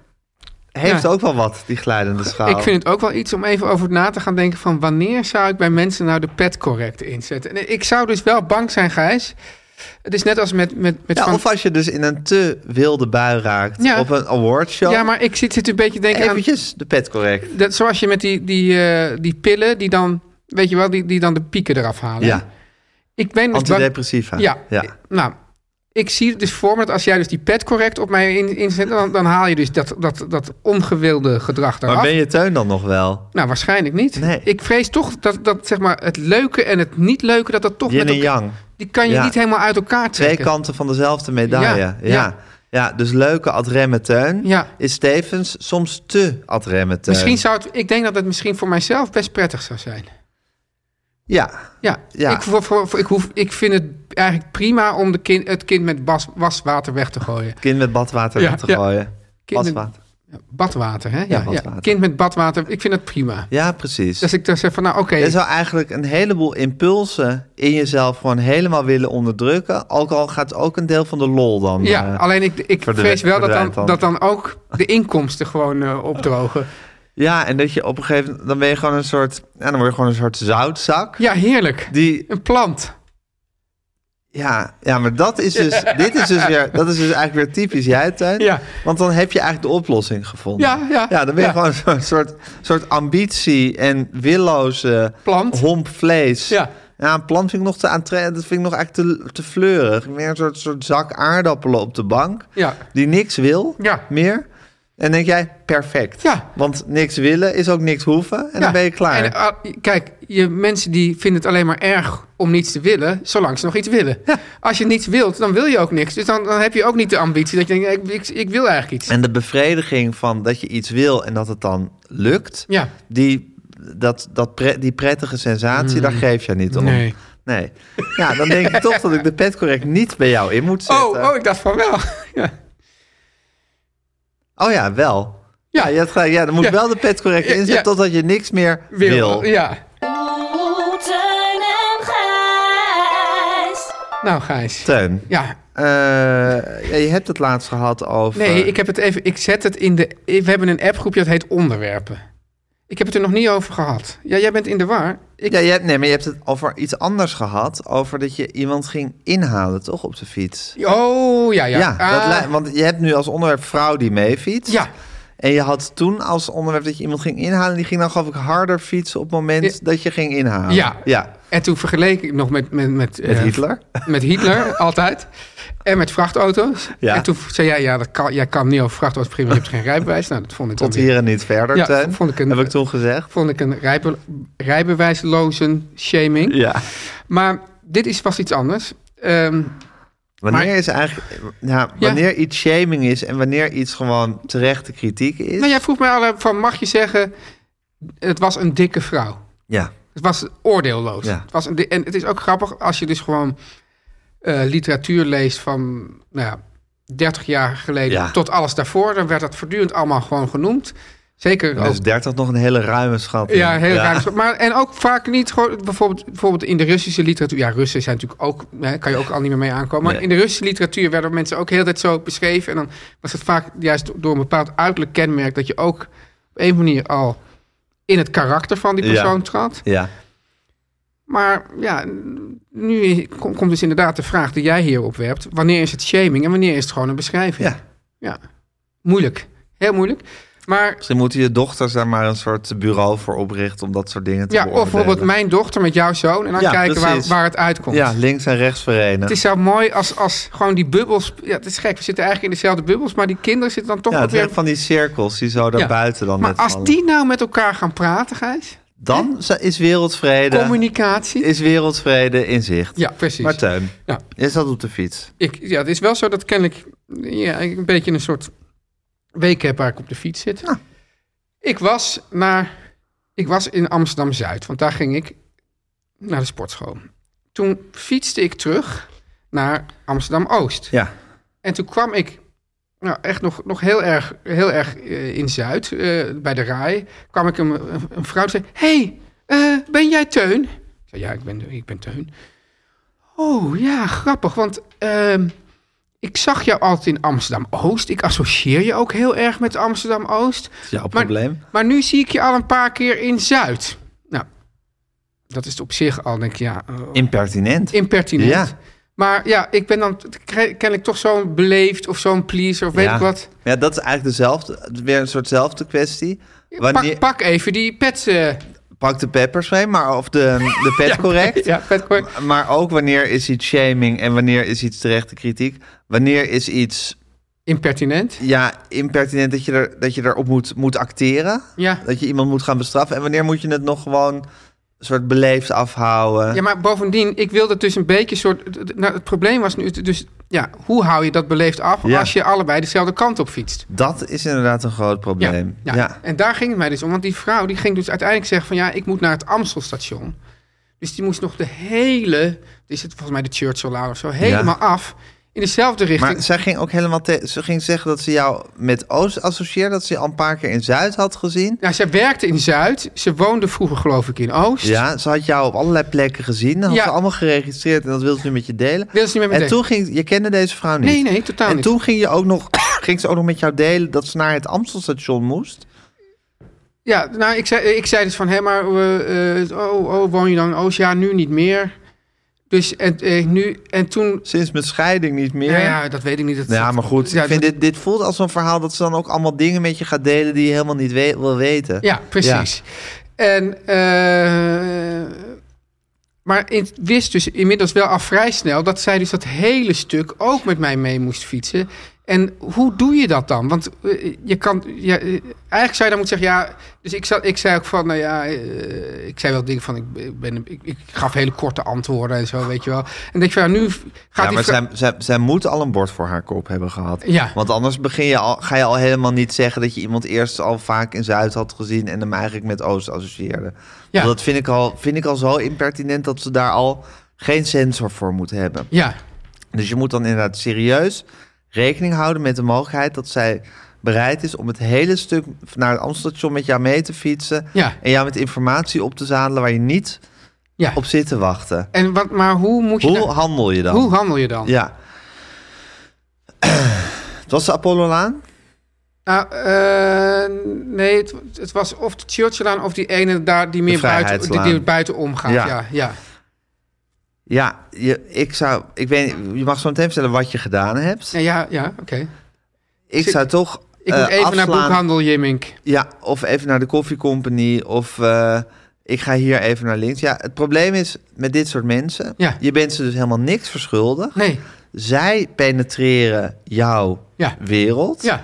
S1: heeft
S3: Ja.
S1: ook wel wat, die glijdende schaal.
S3: Ik vind het ook wel iets om even over na te gaan denken van wanneer zou ik bij mensen nou de pet correct inzetten. En ik zou dus wel bang zijn, Gijs. Het is net als met, met, met
S1: Ja,
S3: van...
S1: of als je dus in een te wilde bui raakt
S3: Ja.
S1: op een awardshow.
S3: ja, maar ik zit, zit een beetje te denken aan...
S1: Eventjes de pet correct.
S3: Dat, zoals je met die, die, eh, die pillen die dan, weet je wel, die, die dan de pieken eraf halen.
S1: Ja,
S3: Ik ben dus bang...
S1: antidepressiva.
S3: Ja,
S1: ja.
S3: nou... Ik zie het dus voor me dat als jij dus die pet correct op mij in- inzet, dan, dan haal je dus dat, dat, dat ongewilde gedrag eraf.
S1: Maar ben je teun dan nog wel?
S3: Nou, waarschijnlijk niet.
S1: Nee.
S3: Ik vrees toch dat, dat zeg maar, het leuke en het niet leuke, dat dat toch
S1: Yin
S3: met
S1: en
S3: elkaar...
S1: yang.
S3: Die kan je
S1: Ja.
S3: niet helemaal uit elkaar
S1: Twee
S3: trekken.
S1: kanten van dezelfde medaille. Ja,
S3: Ja,
S1: ja.
S3: ja.
S1: dus leuke ad remmeteun
S3: Ja.
S1: is tevens soms te ad remmeteun.
S3: Misschien zou het, ik denk dat het misschien voor mijzelf best prettig zou zijn.
S1: Ja,
S3: Ja,
S1: Ja.
S3: Ik, voor, voor- voor- ik, hoef, ik vind het eigenlijk prima om de kind, het kind met bas, waswater weg te gooien.
S1: kind met badwater
S3: Ja,
S1: weg te
S3: ja.
S1: gooien.
S3: Kind met-
S1: Badwater.
S3: Badwater, hè? Ja, ja,
S1: badwater.
S3: kind met badwater, ik vind het prima.
S1: Ja, precies.
S3: Dus ik dan zeg van, nou oké,
S1: Je zou eigenlijk een heleboel impulsen in jezelf gewoon helemaal willen onderdrukken. Ook al gaat ook een deel van de lol dan.
S3: ja,
S1: eh,
S3: alleen ik, ik
S1: verdwijnt-
S3: vrees wel dat dan,
S1: verdwijnt dan.
S3: dat dan ook de inkomsten gewoon eh, opdrogen.
S1: ja, en dat je op een gegeven moment, dan ben je gewoon een soort, ja, dan word je gewoon een soort zoutzak.
S3: Ja, heerlijk.
S1: Die,
S3: Een plant.
S1: ja, ja, maar dat is dus, dit is dus weer, dat is dus eigenlijk weer typisch jij, Tuin.
S3: Ja.
S1: Want dan heb je eigenlijk de oplossing gevonden.
S3: Ja, ja.
S1: ja dan ben je
S3: Ja.
S1: gewoon een soort, soort, soort ambitie en willoze
S3: Plant.
S1: homp vlees.
S3: Ja.
S1: Ja, een plant vind ik nog te aantrekkelijk. Dat vind ik nog eigenlijk te, te fleurig. Meer een soort, soort zak aardappelen op de bank.
S3: Ja.
S1: Die niks wil
S3: Ja.
S1: meer. En denk jij, perfect.
S3: Ja.
S1: Want niks willen is ook niks hoeven. En dan
S3: Ja,
S1: ben je klaar.
S3: en, ah, kijk, je, mensen die vinden het alleen maar erg om niets te willen, zolang ze nog iets willen. Als je niets wilt, dan wil je ook niks. Dus dan, dan heb je ook niet de ambitie dat je denkt, ik, ik, ik wil eigenlijk iets.
S1: En de bevrediging van dat je iets wil en dat het dan lukt,
S3: Ja.
S1: die, dat, dat pre- die prettige sensatie, daar geef je niet om.
S3: Hmm. Nee.
S1: Nee. Ja, dan denk ik toch dat ik de pet correct niet bij jou in moet zetten.
S3: Oh, oh, ik dacht van wel. ja.
S1: Oh ja, wel. Ja,
S3: Ja.
S1: je hebt gelijk. Ja, dan moet
S3: Ja.
S1: wel de pet correct
S3: Ja,
S1: inzetten
S3: ja.
S1: totdat je niks meer wil.
S3: Ja.
S6: Oeh, Oh, Teun en Gijs.
S3: Nou, Gijs.
S1: Teun,
S3: Ja,
S1: eh, ja, je hebt het laatst gehad over...
S3: nee, ik heb het even. Ik zet het in de. We hebben een appgroepje dat heet Onderwerpen. Ik heb het er nog niet over gehad. Ja, jij bent in de war. Ik,
S1: Ja, je hebt, nee, maar je hebt het over iets anders gehad. Over dat je iemand ging inhalen, toch, op de fiets?
S3: Oh, ja, ja.
S1: Ja, dat
S3: Ah,
S1: lij- want je hebt nu als onderwerp vrouw die mee fietst.
S3: Ja.
S1: En je had toen als onderwerp dat je iemand ging inhalen. Die ging dan geloof ik harder fietsen op het moment
S3: Ja.
S1: dat je ging inhalen.
S3: Ja.
S1: Ah. ja.
S3: En toen vergeleek ik nog met... Met, met,
S1: Met
S3: eh,
S1: Hitler.
S3: Met Hitler, altijd. En met vrachtauto's.
S1: Ja.
S3: En toen zei jij, ja, dat kan, jij kan niet over vrachtauto's beginnen, want je hebt geen rijbewijs. Nou, dat vond ik dan
S1: Tot
S3: weer-
S1: hier en niet verder,
S3: Ja,
S1: Teun.
S3: vond ik een-
S1: Heb ik toen gezegd.
S3: Vond ik een rijbe, rijbewijslozen shaming.
S1: Ja.
S3: Maar dit is vast iets anders. Ehm,
S1: Wanneer
S3: Maar-
S1: is eigenlijk... Ja, wanneer iets shaming is en wanneer iets gewoon terechte kritiek is.
S3: nou, jij vroeg mij al eh, van, mag je zeggen, het was een dikke vrouw?
S1: Ja.
S3: Het was oordeelloos.
S1: Ja.
S3: Het was een, di- en het is ook grappig als je dus gewoon eh, literatuur leest van nou ja, 30 jaar geleden
S1: Ja.
S3: tot alles daarvoor. Dan werd dat voortdurend allemaal gewoon genoemd. Zeker
S1: Dat
S3: als,
S1: is 30 nog een hele ruime schat.
S3: Ja, heel raar. Maar en ook vaak niet gewoon bijvoorbeeld, bijvoorbeeld in de Russische literatuur. Ja, Russen zijn natuurlijk ook, hè, kan je ook al niet meer mee aankomen. Maar
S1: Nee.
S3: in de Russische literatuur werden mensen ook heel tijd zo beschreven. En dan was het vaak juist door een bepaald uiterlijk kenmerk dat je ook op een manier al in het karakter van die
S1: Ja.
S3: persoon trad.
S1: Ja.
S3: Maar ja, nu kom- komt dus inderdaad de vraag die jij hier opwerpt. Wanneer is het shaming en wanneer is het gewoon een beschrijving?
S1: ja.
S3: ja. Moeilijk. Heel moeilijk. Maar
S1: Misschien moeten je dochters daar maar een soort bureau voor oprichten om dat soort dingen te
S3: ja, of
S1: beoordelen.
S3: bijvoorbeeld mijn dochter met jouw zoon. En dan
S1: Ja,
S3: kijken waar,
S1: precies.
S3: waar het uitkomt.
S1: Ja, links en rechts verenigen.
S3: Het is zo mooi als, als gewoon die bubbels. Ja, het is gek. We zitten eigenlijk in dezelfde bubbels, maar die kinderen zitten dan toch
S1: ja,
S3: ook
S1: het
S3: weer.
S1: werk van die cirkels die zo daar
S3: Ja.
S1: buiten dan
S3: maar
S1: net
S3: als
S1: vallen.
S3: die nou met elkaar gaan praten, Gijs.
S1: Dan z- is wereldvrede,
S3: Communicatie.
S1: is wereldvrede in zicht.
S3: Ja, precies.
S1: Maar Teun,
S3: Ja.
S1: je zat op de fiets.
S3: Ik, ja, het is wel zo dat kennelijk ja, ik een beetje een soort week heb waar ik op de fiets zit.
S1: Ja.
S3: Ik, was naar, ik was in Amsterdam-Zuid, want daar ging ik naar de sportschool. Toen fietste ik terug naar Amsterdam-Oost.
S1: Ja.
S3: En toen kwam ik nou, echt nog, nog heel erg, heel erg eh, in Zuid, eh, bij de RAI. Kwam ik een, een, een vrouw die zei, hey, eh, ben jij Teun? Ik zei, ja, ik ben, ik ben Teun. Oh ja, grappig, want ehm, ik zag jou altijd in Amsterdam-Oost. Ik associeer je ook heel erg met Amsterdam-Oost.
S1: Dat is jouw
S3: Maar-
S1: probleem.
S3: Maar nu zie ik je al een paar keer in Zuid. Nou, dat is op zich al, denk ik, ja, eh,
S1: Impertinent.
S3: impertinent.
S1: Ja.
S3: Maar ja, ik ben dan t- kre- kennelijk toch zo'n beleefd of zo'n pleaser of weet
S1: ja.
S3: ik wat.
S1: Ja, dat is eigenlijk dezelfde, weer een soortzelfde kwestie. Wanneer,
S3: Pak, pak even die pet. eh,
S1: pak de peppers mee, maar of de, de pet correct.
S3: ja, pet correct.
S1: Maar ook wanneer is iets shaming en wanneer is iets terechte kritiek? Wanneer is iets
S3: Impertinent.
S1: ja, impertinent dat je, er, dat je erop moet, moet acteren?
S3: Ja.
S1: Dat je iemand moet gaan bestraffen? En wanneer moet je het nog gewoon een soort beleefd afhouden?
S3: Ja, maar bovendien, ik wilde dus een beetje soort. Nou, het probleem was nu, dus ja, hoe hou je dat beleefd af
S1: Ja.
S3: als je allebei dezelfde kant op fietst?
S1: Dat is inderdaad een groot
S3: Ja,
S1: probleem.
S3: ja. en daar ging het mij dus om. Want die vrouw die ging dus uiteindelijk zeggen van ja, ik moet naar het Amstelstation. Dus die moest nog de hele, is het volgens mij de Churchill-laan of zo, helemaal af in dezelfde richting.
S1: Maar zij ging ook helemaal te, ze ging zeggen dat ze jou met Oost associeerde, dat ze je al een paar keer in Zuid had gezien.
S3: Nou, zij werkte in Zuid. Ze woonde vroeger geloof ik in Oost.
S1: Ja, ze had jou op allerlei plekken gezien. Dat had
S3: Ja.
S1: ze allemaal geregistreerd en dat wilde ze nu met je delen.
S3: Wil ze niet met
S1: en
S3: me delen.
S1: toen ging, je kende deze vrouw niet.
S3: Nee, nee, totaal
S1: en
S3: niet.
S1: toen ging, je ook nog, ging ze ook nog met jou delen dat ze naar het Amstelstation moest.
S3: Ja, nou, ik zei, ik zei dus van, hé, maar, eh, eh, oh, oh, woon je dan in Oost? Ja, nu niet meer. Dus, en, eh, nu, en toen,
S1: Sinds mijn scheiding niet meer.
S3: ja, ja, dat weet ik niet. Dat,
S1: Nou ja, maar goed.
S3: Ja,
S1: ik vind
S3: dat-
S1: dit, dit voelt als zo'n verhaal dat ze dan ook allemaal dingen met je gaat delen die je helemaal niet we- wil weten.
S3: ja precies. En, eh, Maar ik wist dus inmiddels wel af vrij snel dat zij dus dat hele stuk ook met mij mee moest fietsen. En hoe doe je dat dan? Want eh, je kan. Ja, eh, eigenlijk zou je dan moeten zeggen: ja. Dus ik, zat, ik zei ook van: nou ja. eh, ik zei wel dingen van: ik, ben- ben, ik, ik gaf hele korte antwoorden en zo, weet je wel. En denk je van: nou, nu gaat
S1: ja,
S3: die
S1: maar
S3: ver-
S1: zij, zij, zij moet al een bord voor haar kop hebben gehad.
S3: Ja.
S1: Want anders begin je al, ga je al helemaal niet zeggen dat je iemand eerst al vaak in Zuid had gezien en hem eigenlijk met Oost associeerde.
S3: Ja.
S1: Want dat vind ik, al, vind ik al zo impertinent dat ze daar al geen sensor voor moet hebben.
S3: Ja,
S1: Dus je moet dan inderdaad serieus rekening houden met de mogelijkheid dat zij bereid is om het hele stuk naar het Amstelstation met jou mee te fietsen.
S3: Ja.
S1: En jou met informatie op te zadelen waar je niet
S3: ja.
S1: op zit te wachten.
S3: En wat, maar hoe moet je.
S1: Hoe
S3: dan-
S1: handel je dan?
S3: hoe handel je dan?
S1: Ja. Het was de Apollo-laan?
S3: Nou, eh, nee, het, het was of de Churchillaan of die ene daar die meer buiten, die,
S1: Vrijheidslaan.
S3: die buiten omgaat. Ja.
S1: Ja.
S3: Ja, ja.
S1: Ja, je, ik zou, ik weet, niet, je mag zo meteen vertellen wat je gedaan hebt.
S3: ja, ja, oké.
S1: Ik zou toch
S3: Ik
S1: eh,
S3: moet even naar
S1: afslaan-
S3: boekhandel, Jimmink.
S1: Ja, of even naar de koffiecompany. Of eh, ik ga hier even naar links. Ja, het probleem is met dit soort mensen.
S3: Ja.
S1: Je bent ze dus helemaal niks verschuldigd.
S3: Nee,
S1: Zij penetreren jouw
S3: Ja.
S1: wereld.
S3: ja.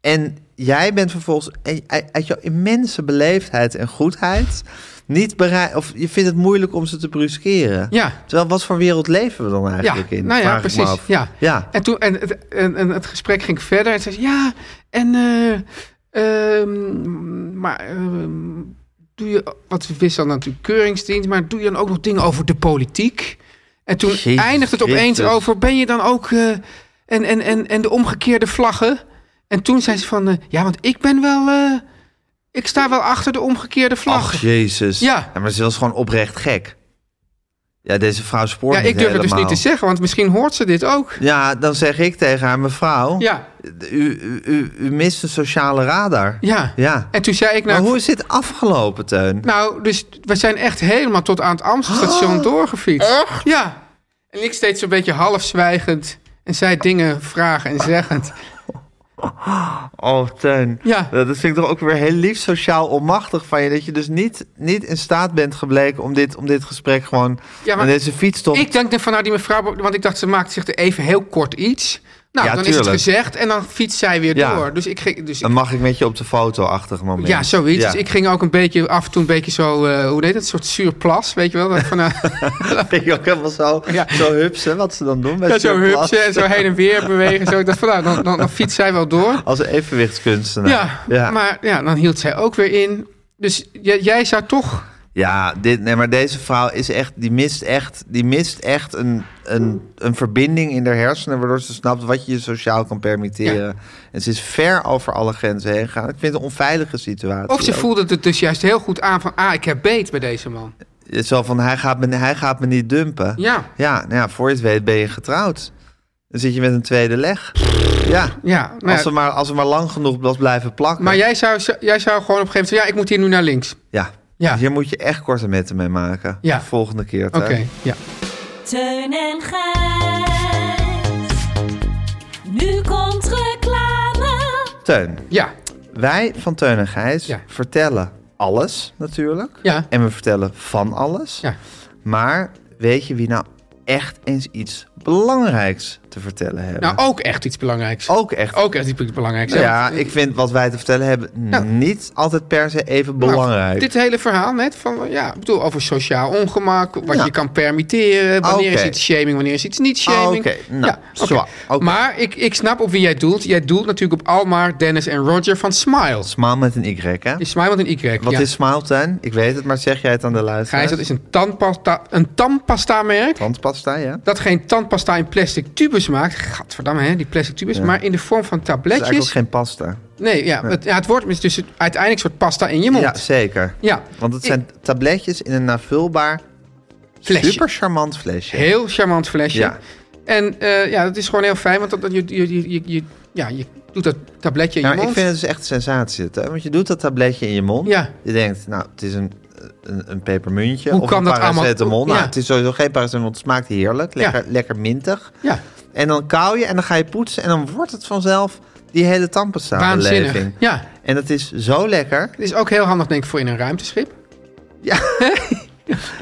S1: En jij bent vervolgens en- uit jouw immense beleefdheid en goedheid niet bereid. Of je vindt het moeilijk om ze te bruskeren.
S3: Ja.
S1: Terwijl wat voor wereld leven we dan eigenlijk
S3: ja.
S1: in?
S3: Nou ja,
S1: Vraag ik me
S3: precies.
S1: af.
S3: Ja.
S1: Ja.
S3: En, toen, en, het, en, en het gesprek ging verder. En ze zei, ja, en... eh, ehm, maar ehm, doe je... Wat wist dan natuurlijk keuringsdienst... maar doe je dan ook nog dingen over de politiek? En toen
S1: Jezus
S3: eindigt het opeens
S1: Christus.
S3: over... ben je dan ook... eh, en, en, en, en de omgekeerde vlaggen? En toen zei ze van... eh, ja, want ik ben wel... eh, ik sta wel achter de omgekeerde vlaggen.
S1: Ach, jezus.
S3: Ja.
S1: Maar ze was gewoon oprecht gek. Ja, deze vrouw spoort
S3: ja,
S1: niet
S3: ik durf het dus niet
S1: helemaal.
S3: te zeggen, want misschien hoort ze dit ook.
S1: Ja, dan zeg ik tegen haar, mevrouw,
S3: Ja,
S1: u, u, u, u mist een sociale radar.
S3: ja.
S1: Ja.
S3: En toen zei ik...
S1: maar
S3: Nou,
S1: hoe is dit afgelopen, Teun?
S3: Nou, dus we zijn echt helemaal tot aan het
S1: Oh,
S3: Amstelstation doorgefietst. Ja. En ik steeds een beetje half zwijgend. En zij dingen vragen en zeggend.
S1: Oh, Teun.
S3: Ja.
S1: Dat dat vind ik toch ook weer heel lief sociaal onmachtig van je. Dat je dus niet, niet in staat bent gebleken om dit, om dit gesprek gewoon...
S3: Ja, maar
S1: en deze fietstocht...
S3: Ik denk dan van nou die mevrouw... Want ik dacht ze maakt zich er even heel kort iets. Nou,
S1: Ja,
S3: dan is
S1: tuurlijk.
S3: het gezegd. En dan fietst zij weer
S1: Ja.
S3: door. Dus ik ging... Dus ik-
S1: Dan mag ik met je op de foto-achtig moment.
S3: ja, zoiets.
S1: Ja.
S3: Dus ik ging ook een beetje af en toe een beetje zo... eh, hoe deed het? Een soort zuur plas, weet je wel? Dat Van, eh,
S1: Vind je ook helemaal zo,
S3: Ja.
S1: zo hupsen wat ze dan doen. Met
S3: ja, zo
S1: zo'n
S3: hupsen
S1: plas.
S3: en zo heen en weer bewegen. Zo. Ik dacht van nou, dan, dan, dan fietst zij wel door.
S1: Als een evenwichtskunstenaar.
S3: Ja,
S1: ja.
S3: maar ja, dan hield zij ook weer in. Dus j- jij zou toch...
S1: Ja, dit, nee, maar deze vrouw is echt, die mist echt, die mist echt een, een, een verbinding in haar hersenen, waardoor ze snapt wat je je sociaal kan permitteren. En ze is ver over alle grenzen heen gegaan. Ik vind het een onveilige situatie.
S3: Of ze
S1: ook.
S3: voelde het dus juist heel goed aan van... ah, ik heb beet bij deze man.
S1: Het is Zo van, hij gaat, me, hij gaat me niet dumpen.
S3: Ja.
S1: Ja, nou ja, voor je het weet ben je getrouwd. Dan zit je met een tweede leg. Ja.
S3: Ja, nou
S1: Als
S3: ja,
S1: we maar, als we maar lang genoeg was blijven plakken.
S3: maar jij zou, zo- jij zou gewoon op een gegeven moment... zeggen, ja, ik moet hier nu naar links.
S1: Ja. Dus
S3: Ja.
S1: Hier moet je echt korte metten mee maken.
S3: Ja.
S1: Volgende keer.
S3: Oké,
S1: Teun.
S3: ja.
S6: Teun en Gijs. Nu komt reclame.
S1: Teun.
S3: Ja,
S1: Wij van Teun en Gijs
S3: Ja.
S1: vertellen alles natuurlijk.
S3: Ja.
S1: En we vertellen van alles.
S3: ja.
S1: Maar weet je wie nou echt eens iets belangrijks te vertellen hebben?
S3: Nou, ook echt iets belangrijks.
S1: ook echt.
S3: Ook echt iets belangrijks.
S1: Nou
S3: hè?
S1: ja, ik vind wat wij te vertellen hebben niet altijd per se even
S3: Nou,
S1: belangrijk.
S3: Dit hele verhaal net van, ja, ik bedoel, over sociaal ongemak, wat
S1: Ja.
S3: je kan permitteren, wanneer
S1: Oké.
S3: is iets shaming, wanneer is iets niet shaming.
S1: Oké, nou,
S3: ja, oké.
S1: zwa- oké.
S3: Maar ik, ik snap op wie jij doelt. Jij doelt natuurlijk op Almar, Dennis en Roger van Smile.
S1: Smile met een Y, hè?
S3: Is Smile met een Y.
S1: Wat
S3: ja.
S1: is Smile, Teun? Ik weet het, maar zeg jij het aan de luisteraar?
S3: Gijs, dat is een, tandpasta, een tandpasta-merk
S1: Tandpasta, ja?
S3: dat geen tandpasta in plastic tubes maakt. Gadverdamme, hè, die plastic tubes. Maar in de vorm van
S1: Het is eigenlijk
S3: tabletjes.
S1: ook geen pasta.
S3: Nee, ja, Het, ja, het wordt dus uiteindelijk een soort pasta in je mond.
S1: Ja, zeker.
S3: Ja.
S1: Want het zijn tabletjes in een navulbaar,
S3: Flesje.
S1: super charmant flesje.
S3: Heel charmant flesje.
S1: Ja.
S3: En eh, ja, dat is gewoon heel fijn, want dat, dat je, je, je, je- je- ja, je doet dat tabletje in
S1: Ja,
S3: je
S1: maar ik
S3: mond.
S1: vind het dus echt een sensatie. het, Hè? Want je doet dat tabletje in je mond.
S3: Ja.
S1: Je denkt, nou, het is een, een, een pepermuntje
S3: Hoe
S1: of
S3: kan
S1: een
S3: dat allemaal?
S1: paracetamol. Nou,
S3: Ja.
S1: het is sowieso geen paracetamol, want het smaakt heerlijk. Lekker, lekker mintig.
S3: Ja,
S1: En dan kauw je en dan ga je poetsen en dan wordt het vanzelf die hele
S3: waanzinnig.
S1: tandpasta-beleving.
S3: Ja,
S1: En dat is zo lekker.
S3: het is ook heel handig denk ik voor in een ruimteschip.
S1: Ja.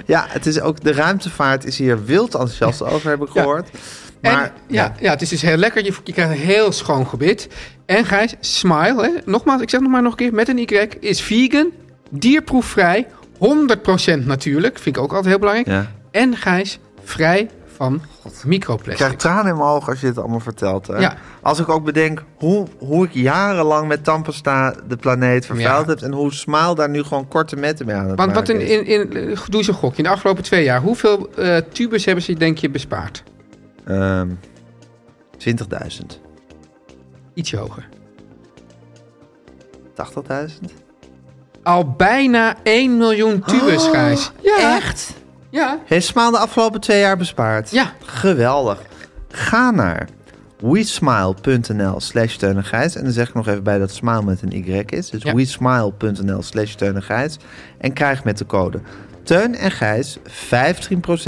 S1: Ja, het is ook de ruimtevaart is hier wild enthousiast over, heb ik
S3: Ja.
S1: gehoord.
S3: En,
S1: Maar
S3: ja, ja, het is dus heel lekker. Je, je krijgt een heel schoon gebit. En Gijs, smile. Hè? Nogmaals, ik zeg nog maar nog een keer. Met een Y is vegan, dierproefvrij, 100% natuurlijk. Vind ik ook altijd heel belangrijk.
S1: Ja.
S3: En Gijs, vrij van
S1: ik krijg
S3: microplastic.
S1: tranen in mijn ogen als je het allemaal vertelt. Hè?
S3: Ja.
S1: Als ik ook bedenk hoe, hoe ik jarenlang met tandpasta de planeet vervuild
S3: Ja.
S1: heb... en hoe Smaal daar nu gewoon korte metten mee aan het
S3: Want wat
S1: maken
S3: in,
S1: is.
S3: in, in, doe eens een gokje. In de afgelopen twee jaar, hoeveel eh, tubers hebben ze, denk je, bespaard?
S1: Ehm, 20.000.
S3: Ietsje hoger.
S1: 80.000?
S3: Al bijna 1 miljoen
S1: Oh,
S3: tubers, Gijs. Ja,
S1: Echt?
S3: ja,
S1: Heeft Smaal de afgelopen twee jaar bespaard?
S3: ja.
S1: Geweldig. Ga naar wesmile.nl slash Teun en Gijs. En dan zeg ik nog even bij dat smile met een y is. Dus
S3: Ja.
S1: wesmile.nl slash Teun en Gijs. En krijg met de code Teun en Gijs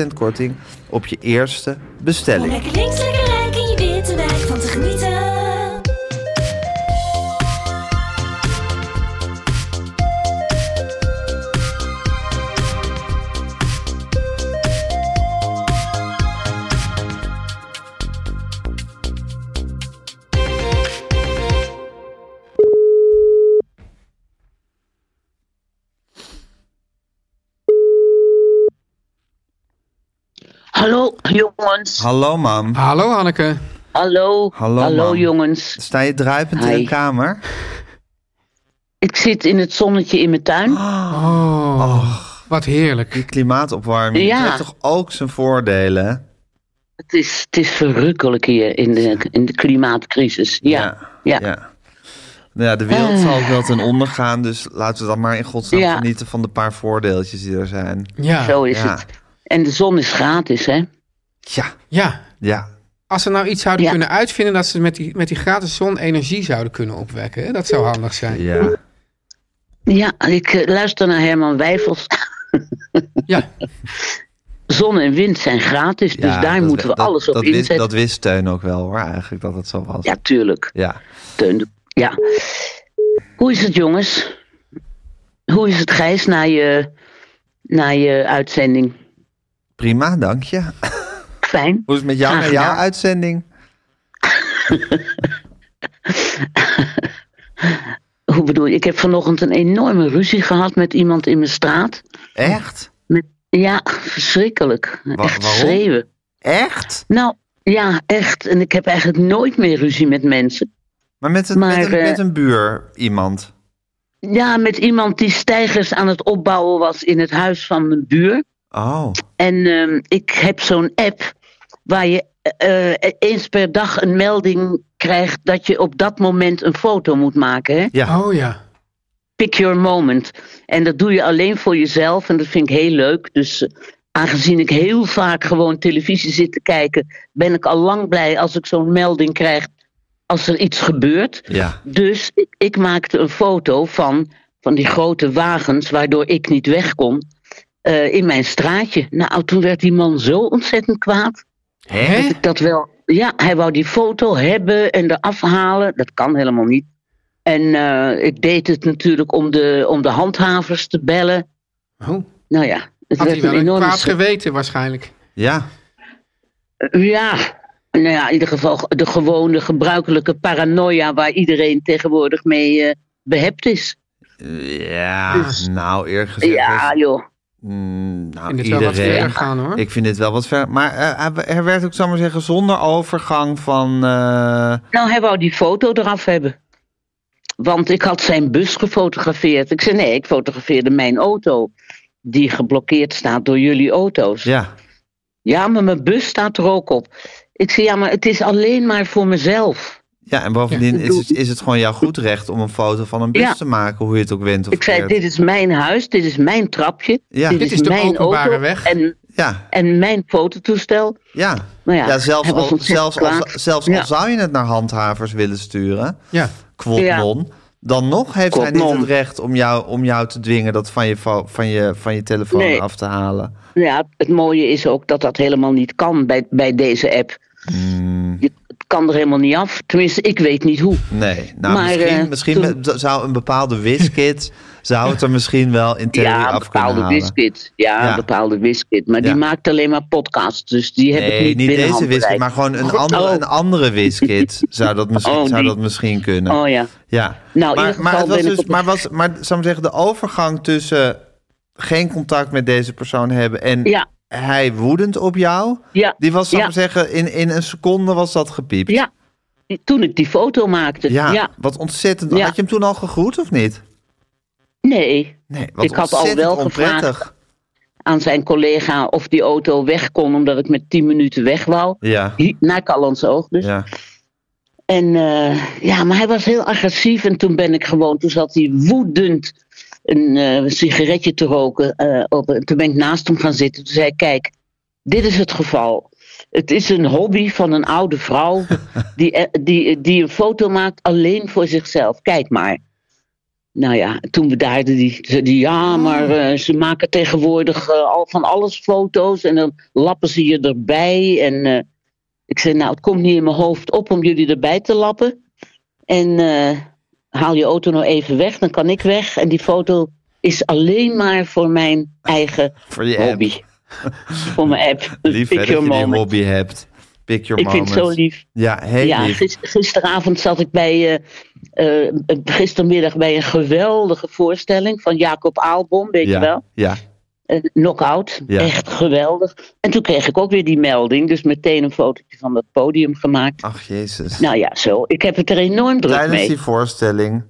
S1: 15% korting op je eerste
S6: Om
S1: bestelling.
S6: lekker links, lekker rijk in je witte wijk van te genieten.
S7: Hallo jongens.
S1: Hallo mam.
S3: Hallo Hanneke.
S7: Hallo.
S1: Hallo, mam.
S7: jongens.
S1: Sta je druipend in
S7: Hi.
S1: de kamer?
S7: Ik zit in het zonnetje in mijn tuin.
S3: Oh, wat heerlijk.
S1: Die klimaatopwarming
S7: Ja.
S1: heeft toch ook zijn voordelen? hè?
S7: Het, is, het is verrukkelijk hier in de, in de klimaatcrisis. Ja.
S1: ja.
S7: Ja. Eh.
S1: ja. Nou ja, de wereld zal wel ten onder gaan, dus laten we dan maar in godsnaam
S7: Ja.
S1: genieten van de paar voordeeltjes die er zijn.
S3: Ja,
S7: Zo is
S1: ja.
S7: het. En de zon is gratis, hè?
S1: Ja,
S3: ja.
S1: ja.
S3: Als ze nou iets zouden
S7: Ja.
S3: kunnen uitvinden dat ze met die, met die gratis zon energie zouden kunnen opwekken. Hè? Dat zou handig zijn.
S1: ja.
S7: Ja, ik eh, luister naar Herman Wijfels.
S3: Ja,
S7: Zon en wind zijn gratis, dus
S1: Ja,
S7: daar
S1: dat-
S7: moeten we
S1: dat-
S7: alles op
S1: dat wist,
S7: inzetten.
S1: Dat wist Steun ook wel hoor, eigenlijk dat het zo was.
S7: Ja, tuurlijk.
S1: ja.
S7: Teun de- Ja. Hoe is het, jongens? Hoe is het, Gijs, na je, na je uitzending?
S1: Prima, dank je.
S7: Fijn.
S1: Hoe is het met jou
S7: Graag
S1: en jouw
S7: gedaan.
S1: uitzending?
S7: Hoe bedoel je? Ik heb vanochtend een enorme ruzie gehad met iemand in mijn straat.
S1: Echt?
S7: Met, ja, verschrikkelijk. echt
S1: waarom?
S7: schreeuwen.
S1: Echt?
S7: Nou, ja, echt. En ik heb eigenlijk nooit meer ruzie met mensen.
S1: Maar met een,
S7: Maar,
S1: met een,
S7: eh,
S1: met een buur iemand.
S7: Ja, met iemand die stijgers aan het opbouwen was in het huis van mijn buur.
S1: Oh,
S7: En ehm, ik heb zo'n app waar je eh, eh, eens per dag een melding krijgt dat je op dat moment een foto moet maken. Hè?
S1: ja.
S3: oh ja.
S7: Pick your moment. En dat doe je alleen voor jezelf en dat vind ik heel leuk. Dus eh, aangezien ik heel vaak gewoon televisie zit te kijken, ben ik al lang blij als ik zo'n melding krijg als er iets gebeurt.
S1: Ja.
S7: Dus ik, ik maakte een foto van, van die grote wagens waardoor ik niet weg kon. eh, in mijn straatje. Nou, toen werd die man zo ontzettend kwaad.
S3: Hè?
S7: Dat wel. Ja, hij wou die foto hebben en eraf halen. Dat kan helemaal niet. En eh, ik deed het natuurlijk om de, om de handhavers te bellen.
S3: Oh,
S7: Nou ja, het
S3: had hij
S7: werd
S3: wel
S7: een
S3: een
S7: enorme.
S3: kwaad geweten waarschijnlijk.
S1: Ja.
S7: Ja, nou ja, in ieder geval de gewone gebruikelijke paranoia waar iedereen tegenwoordig mee eh, behept is.
S1: Ja, nou eerlijk gezegd.
S7: Ja,
S3: dus-
S1: was-
S7: joh.
S1: Mm, nou,
S3: In het wel
S1: iedereen.
S3: wat verder gaan hoor.
S1: Ik vind dit wel wat ver. Maar eh, er werd ook, zal ik maar zeggen, zonder overgang van. eh,
S7: Nou, hij wou die foto eraf hebben. Want ik had zijn bus gefotografeerd. Ik zei: nee, ik fotografeerde mijn auto. Die geblokkeerd staat door jullie auto's.
S1: ja.
S7: Ja, maar mijn bus staat er ook op. Ik zei, ja, maar het is alleen maar voor mezelf.
S1: ja, en bovendien
S7: Ja.
S1: is, het, is het gewoon jouw goed recht om een foto van een bus
S7: Ja.
S1: te maken, hoe je het ook wint of
S7: Ik zei,
S1: verkeerd.
S7: dit is mijn huis, dit is mijn trapje.
S1: Ja.
S7: dit,
S1: Dit
S3: is de
S7: mijn
S3: openbare
S7: auto
S3: weg.
S7: En,
S1: Ja,
S7: en mijn fototoestel.
S1: ja.
S7: Nou ja,
S1: zelfs,
S7: hij was
S1: al,
S7: ontzettend
S1: zelfs, al,
S7: kwaad.
S1: zelfs
S7: Ja.
S1: al zou je het naar handhavers willen sturen,
S3: Ja.
S1: quod
S7: Ja.
S1: non, dan nog heeft
S7: Quod
S1: hij niet
S7: non.
S1: het recht om jou, om jou te dwingen dat van je, fo- van je, van je telefoon
S7: Nee.
S1: af te halen.
S7: Nou Ja, het mooie is ook dat dat helemaal niet kan bij, bij deze app.
S1: Hmm.
S7: Je- het kan er helemaal niet af. Tenminste, ik weet niet hoe.
S1: Nee, nou
S7: Maar,
S1: misschien,
S7: eh,
S1: misschien
S7: toen-
S1: zou een bepaalde wiskit zou het er misschien wel in theorie
S7: Ja, een
S1: af kunnen
S7: bepaalde
S1: halen.
S7: Wiskit. Ja, een
S1: Ja.
S7: bepaalde Wiskit. Maar
S1: Ja.
S7: die maakt alleen maar podcasts. Dus die heb ik
S1: Nee,
S7: niet,
S1: niet
S7: binnen
S1: deze
S7: handbereik.
S1: Wiskit, maar gewoon een andere,
S7: Oh.
S1: een andere Wiskit zou, dat misschien,
S7: Oh,
S1: zou
S7: die.
S1: dat misschien kunnen.
S7: Oh ja.
S1: Ja.
S7: Nou, in
S1: maar,
S7: ieder
S1: maar,
S7: geval
S1: het was
S7: ben ik
S1: dus,
S7: op-
S1: maar, was, maar zou ik zeggen, de overgang tussen geen contact met deze persoon hebben en
S7: Ja.
S1: hij woedend op jou,
S7: Ja.
S1: die was, zou ik
S7: Ja.
S1: zeggen, in, in een seconde was dat gepiept.
S7: Ja, Die- toen ik die foto maakte.
S1: Ja,
S7: Ja.
S1: wat ontzettend.
S7: Ja.
S1: Had je hem toen al gegroet of niet?
S7: Nee,
S1: Nee, wat
S7: Ik had al
S1: ontzettend
S7: wel
S1: onprettig.
S7: gevraagd. aan zijn collega of die auto weg kon omdat ik met 10 minuten weg wou.
S1: Ja.
S7: Hi- Naar Callans Oog dus.
S1: Ja.
S7: En eh, ja, maar hij was heel agressief. En toen ben ik gewoon, toen zat hij woedend een eh, sigaretje te roken. eh, op, toen ben ik naast hem gaan zitten. Toen zei ik, kijk, dit is het geval. Het is een hobby van een oude vrouw die, eh, die, die een foto maakt alleen voor zichzelf. Kijk maar. Nou ja, toen bedaarde die, zei die ja, maar eh, ze maken tegenwoordig eh, al van alles foto's en dan lappen ze je erbij. En eh, ik zei, nou, het komt niet in mijn hoofd op om jullie erbij te lappen. En eh, haal je auto nou even weg, dan kan ik weg. En die foto is alleen maar voor mijn eigen
S1: Voor je app.
S7: hobby. Voor mijn app.
S1: Lief hè,
S7: Pick
S1: dat je
S7: your
S1: die
S7: moment.
S1: hobby hebt. Pick your
S7: Ik vind
S1: moment.
S7: het zo lief.
S1: Ja, heel
S7: ja,
S1: lief.
S7: gis- gisteravond zat ik bij, eh, eh, gistermiddag bij een geweldige voorstelling van Jacob Aalbom, weet
S1: ja,
S7: je wel.
S1: Ja,
S7: Een knockout,
S1: Ja.
S7: echt geweldig. En toen kreeg ik ook weer die melding, dus meteen een fotootje van dat podium gemaakt.
S1: ach jezus.
S7: Nou ja, zo. Ik heb het er enorm druk
S1: Tijdens
S7: mee.
S1: die voorstelling.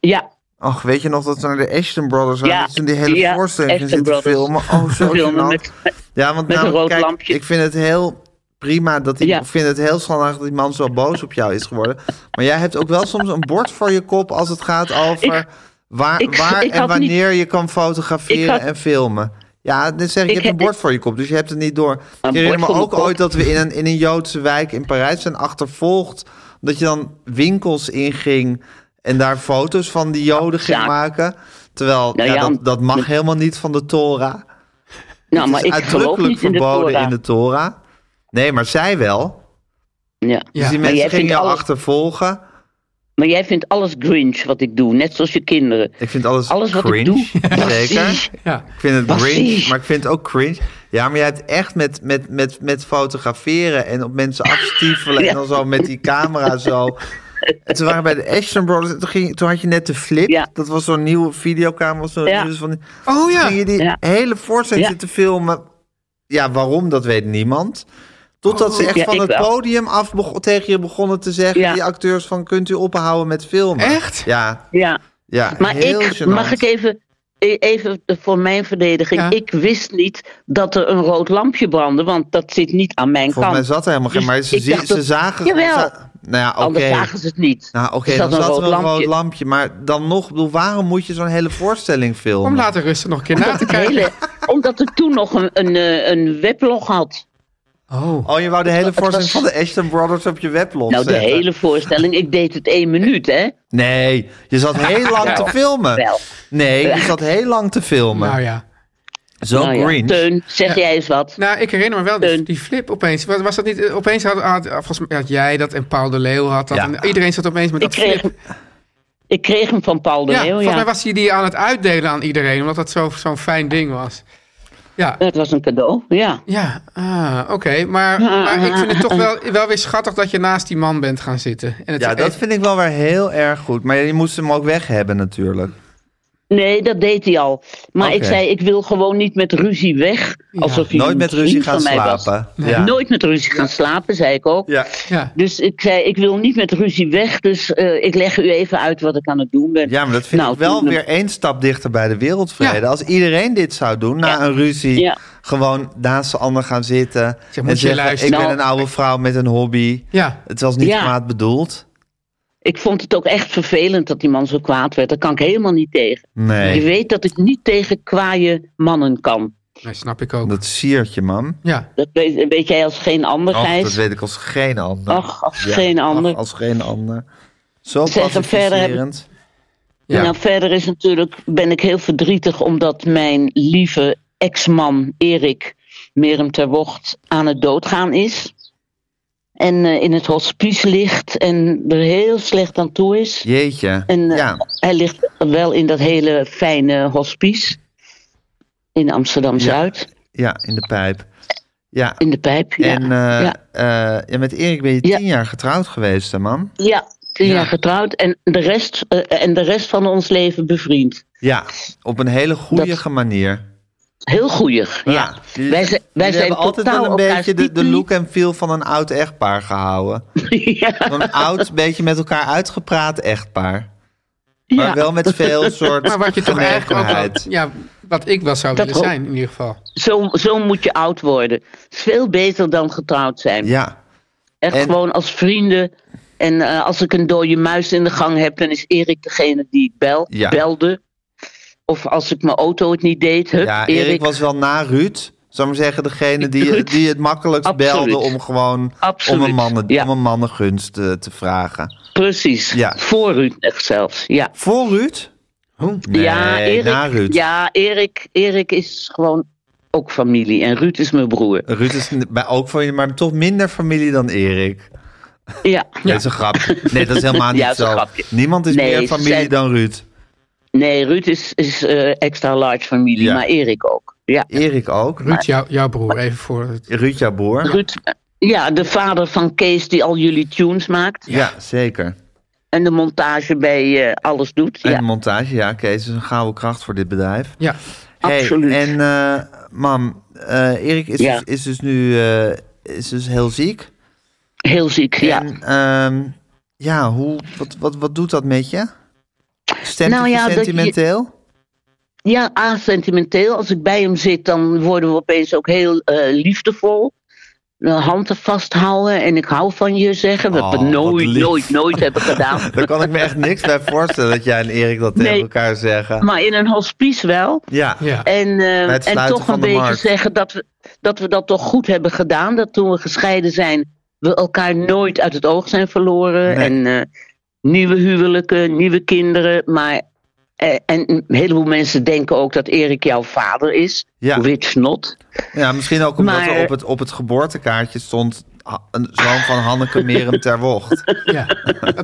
S7: Ja,
S1: Ach, weet je nog dat ze naar de Ashton Brothers waren?
S7: Ja,
S1: dat ze in die hele
S7: ja,
S1: voorstelling gaan
S7: Ashton
S1: zitten filmen.
S7: Brothers.
S1: Oh, zo
S7: filmen
S1: gênant.
S7: met,
S1: Ja, want
S7: met een
S1: namelijk,
S7: rood
S1: kijk,
S7: lampje.
S1: ik vind het heel prima dat die,
S7: Ja.
S1: ik vind het heel schandalig dat die man zo boos op jou is geworden. Maar jij hebt ook wel soms een bord voor je kop als het gaat over
S7: Ik-
S1: waar,
S7: ik-
S1: waar
S7: ik
S1: en
S7: had
S1: wanneer je kan
S7: Ik
S1: fotograferen
S7: had-
S1: en filmen. Ja, dan zeg ik, je
S7: Ik
S1: hebt een
S7: heb-
S1: bord voor je kop, dus je hebt het niet door. Ik
S7: bord
S1: herinner me
S7: voor mijn
S1: ook
S7: kop.
S1: ooit dat we in een, in een Joodse wijk in Parijs zijn achtervolgd. Dat je dan winkels inging en daar foto's van die Joden ging
S7: Ja.
S1: maken. Terwijl,
S7: Nou
S1: ja,
S7: ja,
S1: dat, dat mag helemaal niet van de Torah.
S7: nou, maar
S1: Het
S7: ik
S1: is
S7: geloof
S1: uitdrukkelijk
S7: niet in de
S1: verboden
S7: Torah.
S1: in de Torah. Nee, maar zij wel.
S7: Ja.
S1: Dus die
S7: Maar jij
S1: mensen gingen
S7: vindt
S1: jou
S7: alles-
S1: achtervolgen.
S7: Maar jij vindt alles gringe wat ik doe, net zoals je kinderen.
S1: Ik vind alles,
S7: Alles wat ik
S1: cringe.
S7: doe, was
S1: Zeker.
S7: vies.
S3: Ja.
S1: Ik vind het
S7: Was
S1: cringe,
S7: vies.
S1: maar ik vind het ook cringe. Ja, maar jij hebt echt met, met, met, met fotograferen en op mensen afstiefelen en
S7: Ja.
S1: dan zo met die camera zo. En toen waren we bij de Ashton Brothers en toen, ging, toen had je net de flip.
S7: Ja.
S1: Dat was zo'n nieuwe videocamera. Zo
S7: Ja.
S1: van, die-
S3: Oh
S1: Toen
S3: ja.
S1: ging je die
S7: Ja.
S1: hele voorstelling
S7: Ja.
S1: zitten filmen. Ja, waarom, dat weet niemand. Totdat
S3: Oh.
S1: ze echt
S7: Ja,
S1: van
S7: ik
S1: het
S7: wel.
S1: podium af bego- tegen je begonnen te zeggen,
S7: Ja.
S1: die acteurs, van kunt u ophouden met filmen?
S3: Echt?
S1: Ja,
S7: Ja,
S1: ja
S7: maar
S1: heel
S7: ik,
S1: gênant.
S7: mag ik even, e- even voor mijn verdediging,
S3: Ja.
S7: ik wist niet dat er een rood lampje brandde, want dat zit niet aan mijn
S1: Volgens mij
S7: kant.
S1: zat er helemaal geen,
S7: Dus
S1: maar ze,
S7: ik
S1: zie-
S7: dacht
S1: ze
S7: dat-
S1: zagen...
S7: Jawel.
S1: za- nou ja, oké.
S7: Anders zagen ze het niet.
S1: Nou oké,
S7: Er
S1: dan
S7: zat een
S1: zat er
S7: rood
S1: een rood
S7: lampje.
S1: lampje. Maar dan nog, ik bedoel, waarom moet je zo'n hele voorstelling filmen?
S3: Om later rustig nog een keer na te
S7: Het
S3: kijken.
S7: hele- omdat ik toen nog een, een, eh, een weblog had.
S3: Oh.
S1: Oh, je wou de hele
S7: Het was-
S1: voorstelling van de Ashton Brothers op je weblog
S7: Nou, de
S1: zetten.
S7: hele voorstelling, ik deed het één minuut, hè?
S1: Nee, je zat heel lang
S7: Wel,
S1: te filmen.
S7: wel.
S1: Nee, je zat heel lang te filmen.
S3: Nou ja.
S1: Zo
S7: Nou ja,
S1: cringe.
S7: Teun, zeg jij eens wat.
S3: Nou, ik herinner me wel die,
S7: Teun.
S3: die flip opeens. Was, was dat niet, eh, opeens had, had, volgens mij had jij dat en Paul de Leeuw had dat.
S1: Ja.
S3: En iedereen zat opeens met
S7: Ik
S3: dat
S7: kreeg,
S3: flip.
S7: hem- ik kreeg hem van Paul de
S3: Ja,
S7: Leeuw,
S3: volgens mij
S7: ja.
S3: was hij die aan het uitdelen aan iedereen, omdat dat zo- zo'n fijn ding was. Ja,
S7: Het was een cadeau, ja.
S3: ja ah, oké. Maar,
S7: Ja,
S3: maar ik vind het toch
S7: eh,
S3: wel, wel weer schattig dat je naast die man bent gaan zitten. En het
S1: Ja, dat vind ik wel weer heel erg goed. Maar je moest hem ook weg hebben natuurlijk.
S7: Nee, dat deed hij al. Maar
S1: Oké.
S7: ik zei, ik wil gewoon niet met ruzie weg. Alsof hij
S1: Nooit
S7: een
S1: met ruzie
S7: vriend
S1: gaan
S7: van mij was.
S1: slapen. Ja.
S7: Nooit met ruzie gaan slapen, zei ik ook.
S1: Ja.
S3: ja.
S7: Dus ik zei, ik wil niet met ruzie weg. Dus eh, ik leg u even uit wat ik aan het doen ben.
S1: ja, maar dat vind
S7: Nou,
S1: ik wel
S7: toen-
S1: weer één stap dichter bij de wereldvrede.
S3: Ja.
S1: Als iedereen dit zou doen, na een ruzie,
S7: Ja.
S1: gewoon naast de ander gaan zitten.
S3: moet
S1: en
S3: je
S1: zeggen,
S3: luisteren.
S1: ik ben
S7: Nou.
S1: een oude vrouw met een hobby.
S3: Ja.
S1: Het was niet
S7: Ja.
S1: kwaad bedoeld.
S7: Ik vond het ook echt vervelend dat die man zo kwaad werd. Daar kan ik helemaal niet tegen.
S1: Nee.
S7: Je weet dat ik niet tegen kwaaie mannen kan.
S3: Nee, snap ik ook.
S1: Dat siertje, man.
S3: Ja,
S7: Dat weet, weet jij als geen ander,
S1: Och, dat
S7: Gijs.
S1: weet ik als geen ander.
S7: Ach, als geen
S1: ach,
S7: ander.
S1: als geen ander. Zo
S7: Zeg, en verder heb ik-
S1: pacificerend.
S3: ja.
S7: Nou, verder is natuurlijk, ben ik heel verdrietig omdat mijn lieve ex-man Erik Merem ter Wocht aan het doodgaan is. En eh, in het hospice ligt en er heel slecht aan toe is.
S1: Jeetje.
S7: En eh,
S1: ja.
S7: hij ligt wel in dat hele fijne hospice in Amsterdam Zuid,
S1: ja, in de pijp. Ja.
S7: in de pijp. Ja,
S1: En eh,
S7: ja.
S1: eh, ja, met Erik ben je
S7: Ja.
S1: tien jaar getrouwd geweest, hè, man?
S7: ja tien
S1: ja.
S7: jaar getrouwd en de, rest, eh, en de rest van ons leven bevriend.
S1: Ja, op een hele goedige manier.
S7: Heel goeieig, ja.
S1: jullie-
S7: Wij zijn- wij
S1: jullie
S7: zijn
S1: hebben altijd wel
S7: totaal
S1: een
S7: elkaars
S1: beetje de, de
S7: typie.
S1: look en feel van een oud echtpaar gehouden.
S7: ja.
S1: Zo'n oud, beetje met elkaar uitgepraat echtpaar. Maar
S7: Ja.
S1: wel met veel soort
S3: Maar wat je toch eigenlijk ook wel-
S1: genegenheid.
S3: ja, wat ik wel zou
S7: Dat
S3: willen
S7: ook.
S3: zijn in ieder geval.
S7: Zo, zo moet je oud worden. Het is veel beter dan getrouwd zijn.
S1: Ja,
S7: Echt
S1: en-
S7: gewoon als vrienden. En eh, als ik een dode muis in de gang heb, dan is Erik degene die ik bel,
S1: Ja.
S7: belde. Of als ik mijn auto het niet deed, hup,
S1: ja
S7: Erik,
S1: Erik. was wel na Ruud, zou ik maar zeggen, degene die,
S7: Ruud.
S1: die het makkelijkst
S7: Absoluut.
S1: belde om gewoon om
S7: Absoluut,
S1: een, mannen,
S7: ja.
S1: om een mannengunst eh, te vragen.
S7: precies.
S1: Ja.
S7: Voor u echt zelfs, ja.
S1: Voor Ruud? Nee,
S7: ja, Erik,
S1: na Ruud.
S7: Ja, Erik, Erik is gewoon ook familie. En Ruud is mijn broer.
S1: Ruud is n- bij- ook van je, maar toch minder familie dan Erik.
S7: Ja.
S1: Dat is een grap. Nee, dat is helemaal niet
S7: Ja, dat is
S1: zo.
S7: een grapje.
S1: Niemand is
S7: Nee,
S1: meer
S7: ze
S1: familie
S7: zijn-
S1: dan Ruud.
S7: Nee, Ruud is, is eh, extra large familie,
S1: Ja.
S7: maar Erik ook. Ja.
S1: Erik ook. Ruud,
S3: Ruud, jou- jouw broer, even voor het...
S1: Ruud jouw broer.
S7: Ruud, eh, ja, de vader van Kees die al jullie tunes maakt.
S1: Ja, zeker.
S7: En de montage bij eh, alles doet.
S1: En
S7: Ja.
S1: montage, ja, Kees is een gouden kracht voor dit bedrijf.
S3: Ja,
S1: Hey,
S7: Absoluut.
S1: En eh, mam, eh, Erik is,
S7: Ja.
S1: dus, is dus nu eh, is dus heel ziek.
S7: Heel ziek, ja.
S1: En ehm, ja, hoe, wat, wat, wat doet dat met je? Stemt
S7: Nou
S1: het je
S7: ja, dat je-
S1: sentimenteel?
S7: Ja, asentimenteel. Als ik bij hem zit, dan worden we opeens ook heel eh, liefdevol. De handen vasthouden en ik hou van je zeggen. Wat
S1: Oh,
S7: we nooit,
S1: wat lief.
S7: nooit, nooit hebben gedaan.
S1: Daar kan ik me echt niks bij voorstellen dat jij en Erik dat tegen
S7: Nee.
S1: elkaar zeggen.
S7: Maar in een hospice wel.
S1: Ja,
S3: ja.
S7: En, eh,
S1: het
S7: en
S1: sluiten
S7: toch
S1: van
S7: een
S1: de
S7: beetje
S1: markt.
S7: zeggen dat we, dat we dat toch goed hebben gedaan. Dat toen we gescheiden zijn, we elkaar nooit uit het oog zijn verloren.
S1: Nee.
S7: En eh, nieuwe huwelijken, nieuwe kinderen. Maar, eh, en een heleboel mensen denken ook dat Erik jouw vader is.
S1: Ja.
S7: Which not.
S1: ja misschien ook omdat
S7: Maar-
S1: er op het, op het geboortekaartje stond ha- een zoon van Hanneke Merem ter Wocht.
S3: ja. Dat,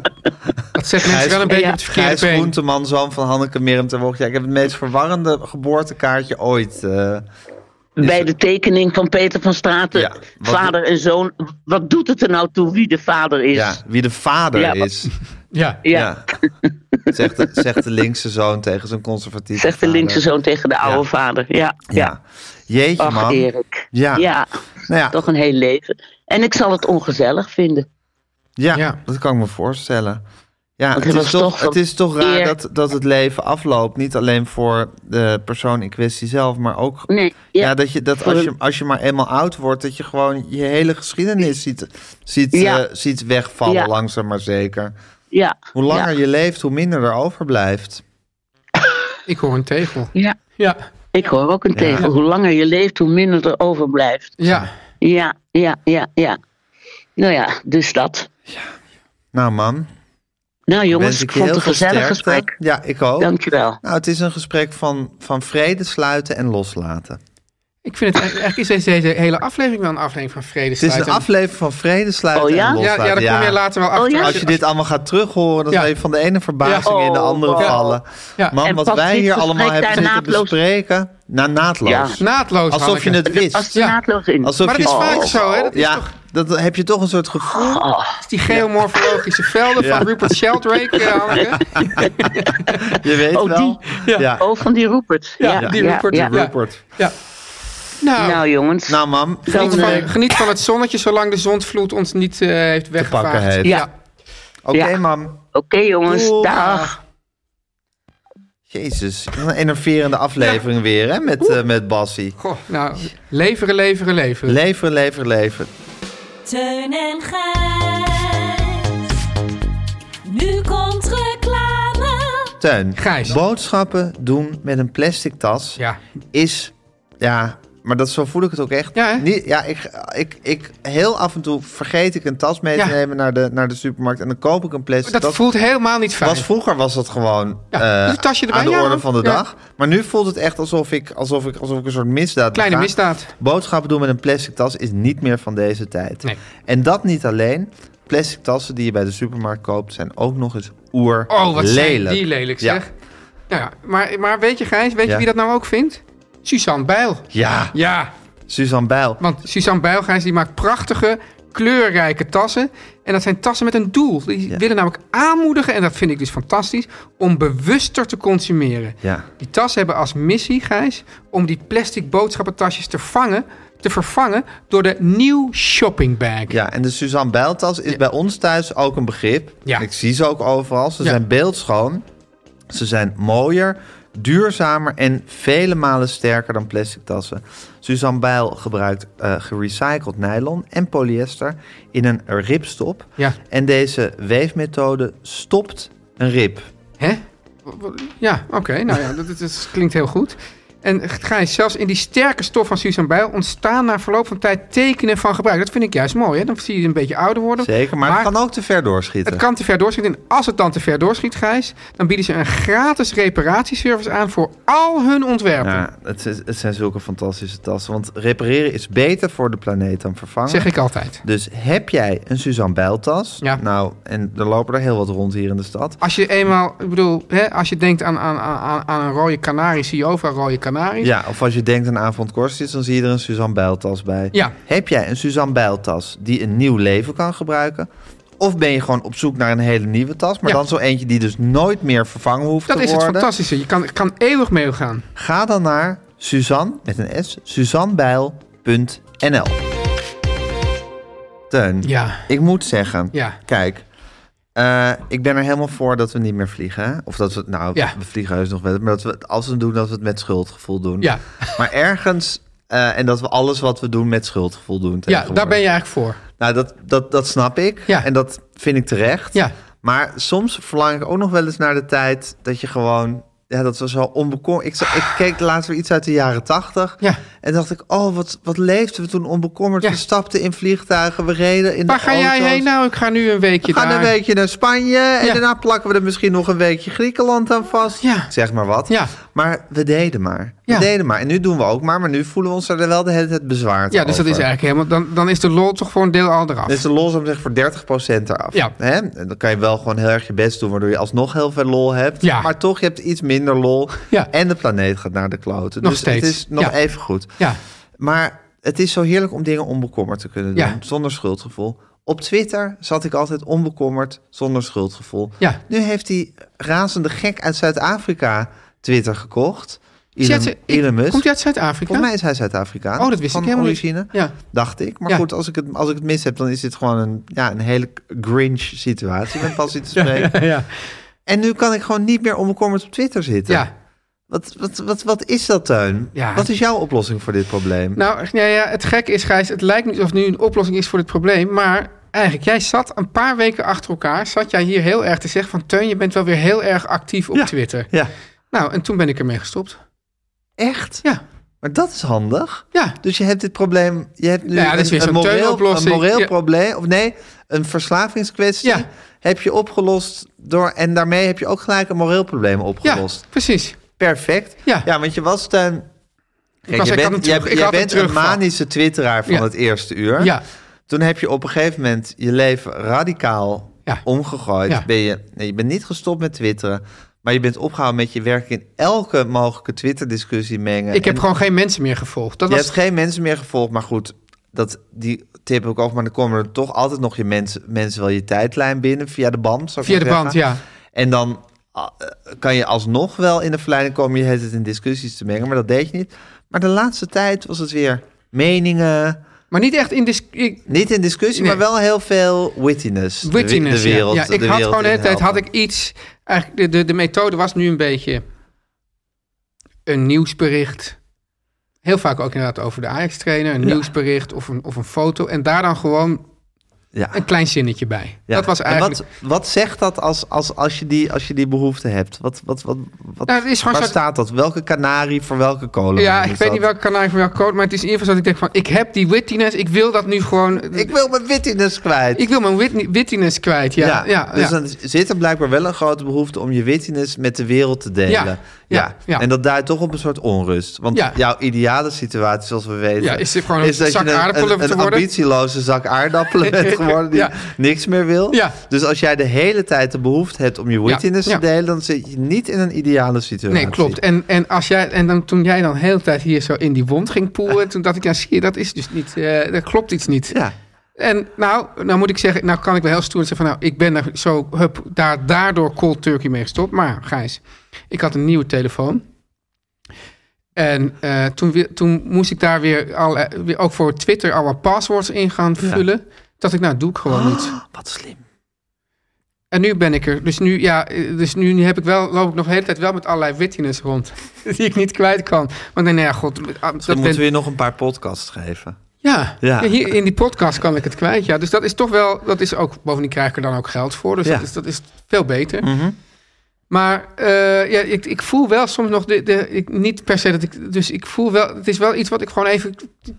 S3: dat zet mensen
S1: Gijs-
S3: wel een beetje
S7: Ja.
S3: op het
S1: Gijs
S3: verkeerde been.
S1: Groenteman, zoon van Hanneke Merem ter Wocht. Ja, ik heb het meest verwarrende geboortekaartje ooit. eh.
S7: Bij de tekening van Peter van Straten,
S1: Ja, wat-
S7: vader en zoon. Wat doet het er nou toe wie de vader is?
S1: ja, wie de vader
S7: Ja, wat-
S1: is.
S3: Ja.
S7: Ja,
S1: Zegt, de, zegt de linkse zoon tegen zijn conservatieve
S7: zegt de
S1: vader.
S7: linkse zoon tegen de oude
S1: Ja.
S7: vader. Ja, ja.
S1: Ja. Jeetje,
S7: Ach,
S1: man.
S7: Erik.
S1: Ja.
S7: ja.
S1: Nou ja,
S7: Toch een heel leven. En ik zal het ongezellig vinden.
S1: Ja,
S3: Ja.
S1: dat kan ik me voorstellen. Ja,
S7: Want
S1: het
S7: het
S1: is,
S7: was
S1: toch,
S7: toch van
S1: het is toch raar
S7: eer-
S1: dat, dat het leven afloopt. Niet alleen voor de persoon in kwestie zelf, maar ook.
S7: Nee,
S1: Ja,
S7: ja,
S1: dat, je, dat
S7: voor
S1: als,
S7: een-
S1: je, als je maar eenmaal oud wordt, dat je gewoon je hele geschiedenis ziet, ziet,
S7: Ja.
S1: eh, ziet wegvallen,
S7: Ja.
S1: langzaam maar zeker.
S7: Ja.
S1: Hoe langer
S7: Ja.
S1: je leeft, hoe minder er overblijft.
S3: Ik hoor een tegel.
S7: Ja.
S3: Ja,
S7: Ik hoor ook een tegel. Hoe langer je leeft, hoe minder er overblijft.
S3: ja.
S7: Ja, ja, ja, ja. Nou ja, dus dat.
S1: Nou, man.
S7: Nou jongens,
S1: wens
S7: ik
S1: je
S7: vond
S1: heel
S7: het een
S1: veel
S7: gezellig
S1: sterkte.
S7: gesprek.
S1: Ja, ik ook.
S7: Dankjewel.
S1: Nou, het is een gesprek van, van vrede sluiten en loslaten.
S3: Ik vind het eigenlijk eigenlijk is deze hele aflevering wel een aflevering van vrede.
S1: Het is een aflevering van vrede sluiten
S7: Oh, ja?
S1: en
S7: Ja,
S3: Ja,
S1: loslaten.
S3: ja, daar kom je later wel achter.
S7: Oh, ja?
S1: Als je dit allemaal gaat terughoren, dan
S3: Ja.
S1: zal je van de ene verbazing
S7: Ja.
S1: in de andere
S7: Oh, wow.
S1: vallen.
S3: Ja.
S1: Man,
S7: En
S1: wat
S7: past
S1: wij
S7: dit
S1: hier allemaal
S7: gesprek
S1: hebben
S7: daar
S1: zitten
S7: naadloos-
S1: bespreken, na naadloos.
S7: Ja.
S3: Naadloos,
S1: Alsof
S3: Hanneke.
S1: je het wist.
S7: Als het
S3: Ja.
S7: naadloos in.
S1: Alsof
S3: Maar dat
S1: je...
S3: is vaak zo, hè? Dat is
S1: ja,
S3: toch
S1: dat heb je toch een soort gevoel.
S7: Oh,
S3: die geomorfologische velden
S1: Ja.
S3: van Rupert Sheldrake, eh, Hanneke.
S1: Je weet
S7: Oh,
S1: wel. Ja. Ja.
S7: oh, van die Rupert. Ja,
S3: die
S7: ja,
S3: Rupert.
S7: ja.
S3: Ja.
S1: Rupert.
S3: Ja. Nou,
S7: Nou jongens,
S1: Nou, mam,
S7: dan,
S3: geniet,
S7: eh,
S3: van, geniet van het zonnetje zolang de zondvloed ons niet eh, heeft weggevaagd.
S1: pakken heeft.
S7: Ja.
S1: oké,
S7: ja.
S1: mam.
S7: oké jongens,
S1: Doeg.
S7: dag.
S1: Jezus, wat een enerverende aflevering weer, hè, met, eh, met Bassie.
S3: Goh, nou, leveren, leveren, leveren.
S1: Lever, lever, lever.
S6: Teun en Gijs. Nu komt reclame.
S1: Teun,
S3: Gijs.
S1: boodschappen doen met een plastic tas
S3: ja,
S1: is, ja, Maar dat, zo voel ik het ook echt.
S3: Ja, hè?
S1: Niet, ja ik, ik, ik, heel af en toe vergeet ik een tas mee te
S3: Ja.
S1: nemen naar de, naar de supermarkt. En dan koop ik een plastic
S3: Dat,
S1: tas.
S3: voelt helemaal niet fijn.
S1: Was, vroeger was dat gewoon
S3: Ja, dus
S1: eh,
S3: een tasje erbij,
S1: aan de
S3: ja.
S1: orde van de
S3: Ja.
S1: dag. Maar nu voelt het echt alsof ik, alsof ik, alsof ik een soort misdaad
S3: Kleine
S1: bega.
S3: misdaad.
S1: Boodschappen doen met een plastic tas is niet meer van deze tijd.
S3: Nee.
S1: En dat niet alleen. Plastic tassen die je bij de supermarkt koopt zijn ook nog eens oer
S3: Oh, wat zijn
S1: lelijk.
S3: die lelijk
S1: Ja.
S3: zeg. Nou Ja. maar, maar weet je Gijs, weet
S1: Ja.
S3: je wie dat nou ook vindt? Suzanne Bijl.
S1: Ja,
S3: Ja,
S1: Suzanne Bijl.
S3: want Suzanne Bijl, Gijs, die maakt prachtige, kleurrijke tassen. En dat zijn tassen met een doel. Die
S1: Ja.
S3: willen namelijk aanmoedigen, en dat vind ik dus fantastisch, om bewuster te consumeren.
S1: Ja.
S3: Die tassen hebben als missie, Gijs, om die plastic boodschappentasjes te, vangen, te vervangen door de nieuw shopping bag.
S1: Ja, en de Suzanne Bijltas is bij ons thuis ook een begrip.
S3: Ja.
S1: Ik zie ze ook overal. Ze
S3: Ja.
S1: zijn beeldschoon. Ze zijn mooier, duurzamer en vele malen sterker dan plastic tassen. Suzanne Bijl gebruikt eh, gerecycled nylon en polyester in een ripstop.
S3: Ja.
S1: En deze weefmethode stopt een rib.
S3: Hè? W- w- Ja, oké. nou ja, dat, dat- dat klinkt heel goed. En Gijs, zelfs in die sterke stof van Suzanne Bijl ontstaan na verloop van tijd tekenen van gebruik. Dat vind ik juist mooi. Hè? Dan zie je het een beetje ouder worden.
S1: Zeker, maar, het kan ook te ver doorschieten.
S3: het kan te ver doorschieten. En als het dan te ver doorschiet, Gijs, dan bieden ze een gratis reparatieservice aan voor al hun ontwerpen.
S1: ja, het, is- het zijn zulke fantastische tassen. Want repareren is beter voor de planeet dan vervangen.
S3: Zeg ik altijd.
S1: Dus heb jij een Suzanne Bijltas?
S3: Ja.
S1: Nou, en er lopen er heel wat rond hier in de stad.
S3: Als je eenmaal, ik bedoel, hè, als je denkt aan, aan, aan, aan een rode kanarie, zie je overal rode kanaries.
S1: Ja, of als je denkt aan avondkorstjes, dan zie je er een Suzanne Bijltas bij.
S3: Ja.
S1: Heb jij een Suzanne Bijltas die een nieuw leven kan gebruiken? Of ben je gewoon op zoek naar een hele nieuwe tas, maar
S3: Ja.
S1: dan zo eentje die dus nooit meer vervangen hoeft
S3: dat
S1: te
S3: is het
S1: worden?
S3: fantastische. Je kan, kan eeuwig mee gaan.
S1: Ga dan naar Suzanne, met een S, suzannebijl.nl Teun,
S3: Ja,
S1: ik moet zeggen,
S3: ja.
S1: Kijk, eh, ik ben er helemaal voor dat we niet meer vliegen. hè? Of dat we, nou,
S3: Ja.
S1: we vliegen heus nog wel. Maar dat we, het- als we het doen, dat we het met schuldgevoel doen.
S3: Ja.
S1: Maar ergens, eh, en dat we alles wat we doen met schuldgevoel doen
S3: ja, daar ben
S1: tegenwoordig.
S3: je eigenlijk voor.
S1: Nou, dat, dat, dat snap ik.
S3: Ja.
S1: En dat vind ik terecht.
S3: Ja.
S1: Maar soms verlang ik ook nog wel eens naar de tijd dat je gewoon... Ja, dat was zo onbekommerd. Ik, zag- ik keek laatst weer iets uit de jaren tachtig.
S3: Ja.
S1: En dacht ik, oh, wat, wat leefden we toen onbekommerd.
S3: Ja.
S1: We stapten in vliegtuigen, we reden in
S3: Waar
S1: de
S3: ga jij
S1: auto's.
S3: heen? Nou, ik ga nu een weekje
S1: We gaan
S3: daar.
S1: een weekje naar Spanje en
S3: Ja.
S1: daarna plakken we er misschien nog een weekje Griekenland aan vast.
S3: Ja.
S1: Ik Zeg maar wat.
S3: Ja.
S1: Maar we deden maar.
S3: Ja.
S1: We deden maar. En nu doen we ook maar, maar nu voelen we ons er wel de hele tijd bezwaard
S3: Ja, dus dat
S1: over.
S3: is eigenlijk helemaal... Dan, dan is de lol toch gewoon deel al eraf.
S1: Dus de lol is om te zeggen voor 30% eraf.
S3: Ja.
S1: Hè? En dan kan je wel gewoon heel erg je best doen, waardoor je alsnog heel veel lol hebt.
S3: Ja.
S1: Maar toch, je hebt iets minder lol.
S3: Ja.
S1: En de planeet gaat naar de kloten.
S3: Nog
S1: dus
S3: steeds.
S1: het is nog
S3: Ja.
S1: even goed.
S3: ja,
S1: Maar het is zo heerlijk om dingen onbekommerd te kunnen doen,
S3: Ja.
S1: zonder schuldgevoel. Op Twitter zat ik altijd onbekommerd, zonder schuldgevoel.
S3: ja.
S1: Nu heeft die razende gek uit Zuid-Afrika Twitter gekocht.
S3: Is
S1: Elon,
S3: hij uit-
S1: Elon Musk.
S3: Komt hij uit Zuid-Afrika?
S1: Volgens mij is hij Zuid-Afrikaan.
S3: Oh, dat wist
S1: van
S3: ik helemaal niet.
S1: origine,
S3: Ja.
S1: dacht ik. Maar
S3: Ja.
S1: goed, als ik, het, als ik het mis heb, dan is dit gewoon een, ja, een hele Grinch-situatie. met passie te spreken.
S3: Ja.
S1: En nu kan ik gewoon niet meer onbekommerd op Twitter zitten.
S3: ja.
S1: Wat, wat, wat, wat is dat, Teun?
S3: Ja.
S1: Wat is jouw oplossing voor dit probleem?
S3: Nou, ja, ja, het gekke is, Gijs, het lijkt niet of nu een oplossing is voor dit probleem, maar eigenlijk, jij zat een paar weken achter elkaar, zat jij hier heel erg te zeggen van, Teun, je bent wel weer heel erg actief op
S1: Ja.
S3: Twitter.
S1: Ja,
S3: Nou, en toen ben ik ermee gestopt.
S1: echt?
S3: Ja,
S1: Maar dat is handig.
S3: ja.
S1: Dus je hebt dit probleem, je hebt nu
S3: Ja, dat is weer
S1: een, een,
S3: zo'n
S1: moreel, een
S3: teunoplossing.
S1: moreel
S3: Ja.
S1: probleem, of nee, een verslavingskwestie
S3: Ja.
S1: heb je opgelost door, en daarmee heb je ook gelijk een moreel probleem opgelost.
S3: Ja, precies.
S1: Perfect.
S3: Ja.
S1: want je was Teun, Kijk,
S3: was-
S1: je
S3: ik had
S1: bent,
S3: een terug-
S1: jij-
S3: ik
S1: jij
S3: had een
S1: bent een
S3: terugval.
S1: manische twitteraar van
S3: Ja.
S1: het eerste uur.
S3: Ja.
S1: Toen heb je op een gegeven moment je leven radicaal
S3: Ja.
S1: omgegooid.
S3: Ja.
S1: Ben je, nee, je bent niet gestopt met twitteren, maar je bent opgehouden met je werk in elke mogelijke twitterdiscussie mengen.
S3: Ik heb
S1: En-
S3: gewoon geen mensen meer gevolgd. Dat
S1: je
S3: was
S1: hebt geen mensen meer gevolgd, maar goed, dat, die tip heb ik ook. Maar dan komen er toch altijd nog je mensen, mensen wel je tijdlijn binnen via de band. zou ik
S3: via de
S1: maar
S3: band,
S1: zeggen.
S3: ja.
S1: En dan ah, eh, kan je alsnog wel in de verleiding komen. Je hebt het in discussies te mengen, maar dat deed je niet. Maar de laatste tijd was het weer meningen.
S3: Maar niet echt in dis- ik-
S1: Niet in discussie,
S3: Nee.
S1: maar wel heel veel wittiness. De wi-
S3: Wittiness,
S1: de,
S3: ja.
S1: wereld.
S3: ja. Ik
S1: de
S3: had
S1: wereld
S3: gewoon de hele tijd had
S1: inhelpen.
S3: ik iets. Eigenlijk de, de, de methode was nu een beetje een nieuwsbericht. Heel vaak ook inderdaad over de Ajax-trainer, een nieuwsbericht of een, of een foto. En daar dan gewoon
S1: Ja.
S3: een klein zinnetje bij.
S1: Ja.
S3: Dat was
S1: En
S3: eigenlijk...
S1: Wat, wat zegt dat als, als, als, je die, als je die behoefte hebt? Wat, wat, wat, wat,
S3: Nou, het is gewoon
S1: waar
S3: zo-
S1: staat dat? Welke kanarie voor welke kolen?
S3: ja, ik weet niet welke kanaal van welke code, maar het is in ieder geval dat ik denk van... ik heb die wittiness, ik wil dat nu gewoon...
S1: Ik wil mijn wittiness kwijt.
S3: Ik wil mijn wit- wittiness kwijt, ja. ja, ja,
S1: dus dan zit er blijkbaar wel een grote behoefte om je wittiness met de wereld te delen.
S3: Ja, ja, ja.
S1: En dat duidt toch op een soort onrust. Want
S3: Ja.
S1: jouw ideale situatie, zoals we weten,
S3: Ja, is dit gewoon een
S1: dat
S3: zak
S1: je
S3: aardappelen
S1: een,
S3: te
S1: een
S3: worden?
S1: ambitieloze zak aardappelen bent geworden die
S3: Ja.
S1: niks meer wil.
S3: Ja.
S1: Dus als jij de hele tijd de behoefte hebt om je wittiness
S3: ja.
S1: te delen, dan zit je niet in een ideale situatie.
S3: Nee, klopt. En, en, als jij, en dan, toen jij dan de hele tijd hier zo in die wond ging poelen... toen dacht ik, ja, zie je, dat is dus niet... eh dat klopt iets niet.
S1: Ja.
S3: En nou, nou moet ik zeggen, nou kan ik wel heel stoer zeggen van... nou, ik ben er zo, hup, daar, daardoor cold turkey mee gestopt. Maar Gijs, ik had een nieuwe telefoon. En eh, toen, weer- toen moest ik daar weer, alle, weer ook voor Twitter alle passwords in gaan vullen. Dat ik, nou, doe ik gewoon niet.
S1: Wat slim.
S3: En nu ben ik er. Dus nu, ja, eh, dus nu heb ik wel, loop ik nog de hele tijd wel met allerlei wittiness rond. die ik niet kwijt kan. Want nee, nou ja, god. ah,
S1: Dan
S3: Dat
S1: moeten
S3: ben,
S1: we je nog een paar podcasts geven.
S3: ja.
S1: Ja.
S3: Ja, hier in die podcast kan ik het kwijt. Ja. Dus dat is toch wel, dat is ook, bovendien krijg ik er dan ook geld voor. Dus
S1: Ja. Mhm.
S3: dat, is, dat is veel beter. Maar eh, ja, ik, ik voel wel soms nog, de, de, ik, niet per se dat ik, dus ik voel wel, het is wel iets wat ik gewoon even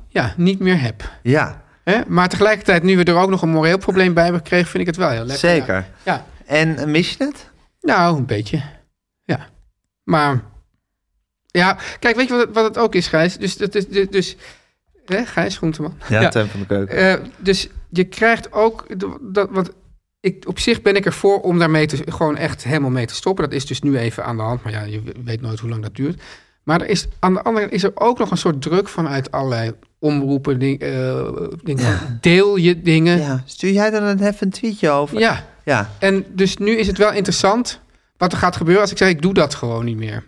S3: ja, niet meer heb.
S1: Ja,
S3: Hè? Maar tegelijkertijd, nu we er ook nog een moreel probleem bij hebben gekregen, vind ik het wel heel lekker.
S1: zeker.
S3: Ja. ja.
S1: En eh, mis je het?
S3: Nou, een beetje. Ja. Maar. Ja, kijk, weet je wat het, wat het ook is, Gijs? Dus, dat is- dus, dus hè, Gijs Groenteman.
S1: Ja, Teun van de Keuken.
S3: Eh, dus je krijgt ook. de- Dat, want ik, op zich ben ik ervoor om daarmee te, gewoon echt helemaal mee te stoppen. Dat is dus nu even aan de hand. Maar ja, je weet nooit hoe lang dat duurt. Maar er is, aan de andere kant is er ook nog een soort druk vanuit allerlei omroepen. Ding, eh, dingen van, Deel je dingen. Ja.
S1: Ja, stuur jij dan een even een tweetje over? Ja.
S3: En dus nu is het wel interessant wat er gaat gebeuren als ik zeg, ik doe dat gewoon niet meer.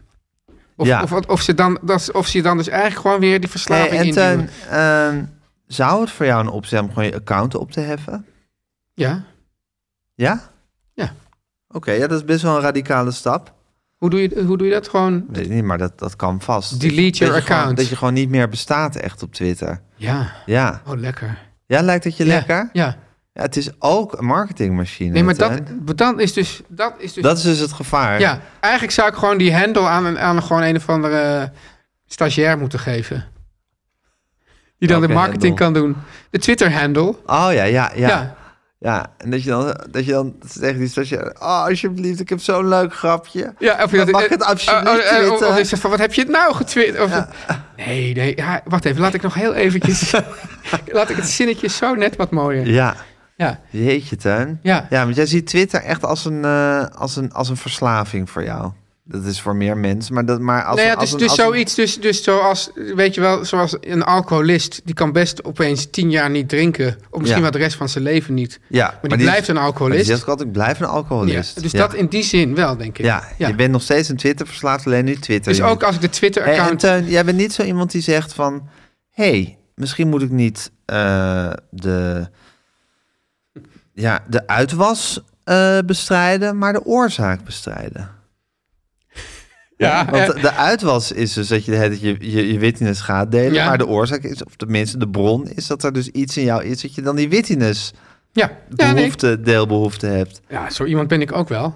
S3: Of,
S1: Ja.
S3: of, of, ze, dan, dat, of ze dan dus eigenlijk gewoon weer
S1: Hey,
S3: die verslaving
S1: en
S3: induwen.
S1: Teun, ehm, zou het voor jou een optie zijn om gewoon je account op te heffen?
S3: Ja.
S1: Ja?
S3: Ja.
S1: Oké, ja, dat is best wel een radicale stap.
S3: Hoe doe, je, hoe doe je dat gewoon?
S1: Weet ik niet, maar dat, dat kan vast.
S3: Delete
S1: Dat je
S3: your
S1: gewoon-
S3: account.
S1: dat je gewoon niet meer bestaat echt op Twitter.
S3: Ja.
S1: Ja.
S3: Oh, lekker.
S1: Ja, lijkt het je
S3: Ja,
S1: lekker?
S3: Ja.
S1: Ja, het is ook een marketingmachine.
S3: Nee, maar
S1: Teun.
S3: dat, dan is dus... Dat is dus
S1: dat is dus het gevaar.
S3: ja, eigenlijk zou ik gewoon die handle aan, een- aan gewoon een of andere stagiair moeten geven. Die dan
S1: Welke
S3: de marketing
S1: handle?
S3: kan doen. De Twitter-handle.
S1: Oh ja, ja, ja. ja.
S3: Ja.
S1: en dat je dan, dat je dan tegen die stagiair... Oh, alsjeblieft, ik heb zo'n leuk grapje.
S3: Ja, of je
S1: Dan
S3: dat,
S1: mag ik het
S3: eh,
S1: absoluut
S3: oh, oh, oh,
S1: twitteren.
S3: Of ik zeg van, wat heb je het nou getwitterd? Of- Nee, nee, ja, wacht even, laat ik nog heel eventjes... laat ik het zinnetje zo net wat mooier. Ja,
S1: Ja.
S3: ja,
S1: Jeetje, Tuin.
S3: ja.
S1: Ja, want jij ziet Twitter echt als een, eh, als een, als een verslaving voor jou. Dat is voor meer mensen, maar, dat, maar als
S3: nou ja,
S1: een- als
S3: dus,
S1: een-
S3: dus
S1: als een-
S3: zoiets, dus, dus zoals, weet je wel, zoals een alcoholist... die kan best opeens tien jaar niet drinken. Of misschien
S1: Ja.
S3: wel de rest van zijn leven niet.
S1: ja,
S3: Maar, die, blijft een
S1: maar die
S3: alcoholist.
S1: zegt ook altijd, ik blijf een alcoholist.
S3: Ja, dus
S1: Ja.
S3: dat in die zin wel, denk ik.
S1: Ja, je bent nog steeds een Twitter verslaafd, alleen nu Twitter.
S3: Dus
S1: je
S3: ook
S1: moet-
S3: als ik de
S1: Hey, en
S3: Twitter-account...
S1: Teun, jij bent niet zo iemand die zegt van... hé, hey, misschien moet ik niet eh, de, ja, de uitwas eh, bestrijden... maar de oorzaak bestrijden.
S3: ja, eh,
S1: Want de uitwas is dus dat je, de hele tijd je, je, je wittiness gaat delen...
S3: Ja.
S1: maar de oorzaak is, of tenminste de bron... is dat er dus iets in jou is dat je dan die wittiness...
S3: ja. Ja, nee.
S1: eh, Behoefte, deelbehoefte hebt.
S3: ja, zo iemand ben ik ook wel.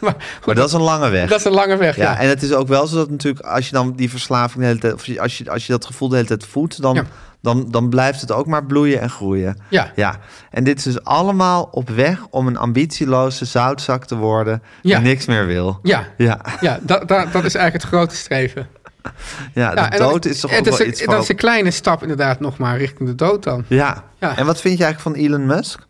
S3: maar
S1: Maar dat is een lange weg.
S3: Dat is een lange weg, ja.
S1: Ja, en het is ook wel zo dat natuurlijk als je dan die verslaving de hele tijd, of je- als je, als je dat gevoel de hele tijd voedt, dan,
S3: Ja.
S1: dan, dan blijft het ook maar bloeien en groeien.
S3: Ja.
S1: ja. En dit is dus allemaal op weg om een ambitieloze zoutzak te worden
S3: Ja.
S1: die niks meer wil.
S3: Ja,
S1: Ja,
S3: ja dat, dat, dat is eigenlijk het grote streven.
S1: ja,
S3: Ja,
S1: de
S3: en dat-
S1: dood is toch
S3: het
S1: ook wel
S3: een-
S1: iets
S3: Dat
S1: van...
S3: is een kleine stap inderdaad nog maar richting de dood dan.
S1: Ja.
S3: Ja.
S1: en wat vind je eigenlijk van Elon Musk?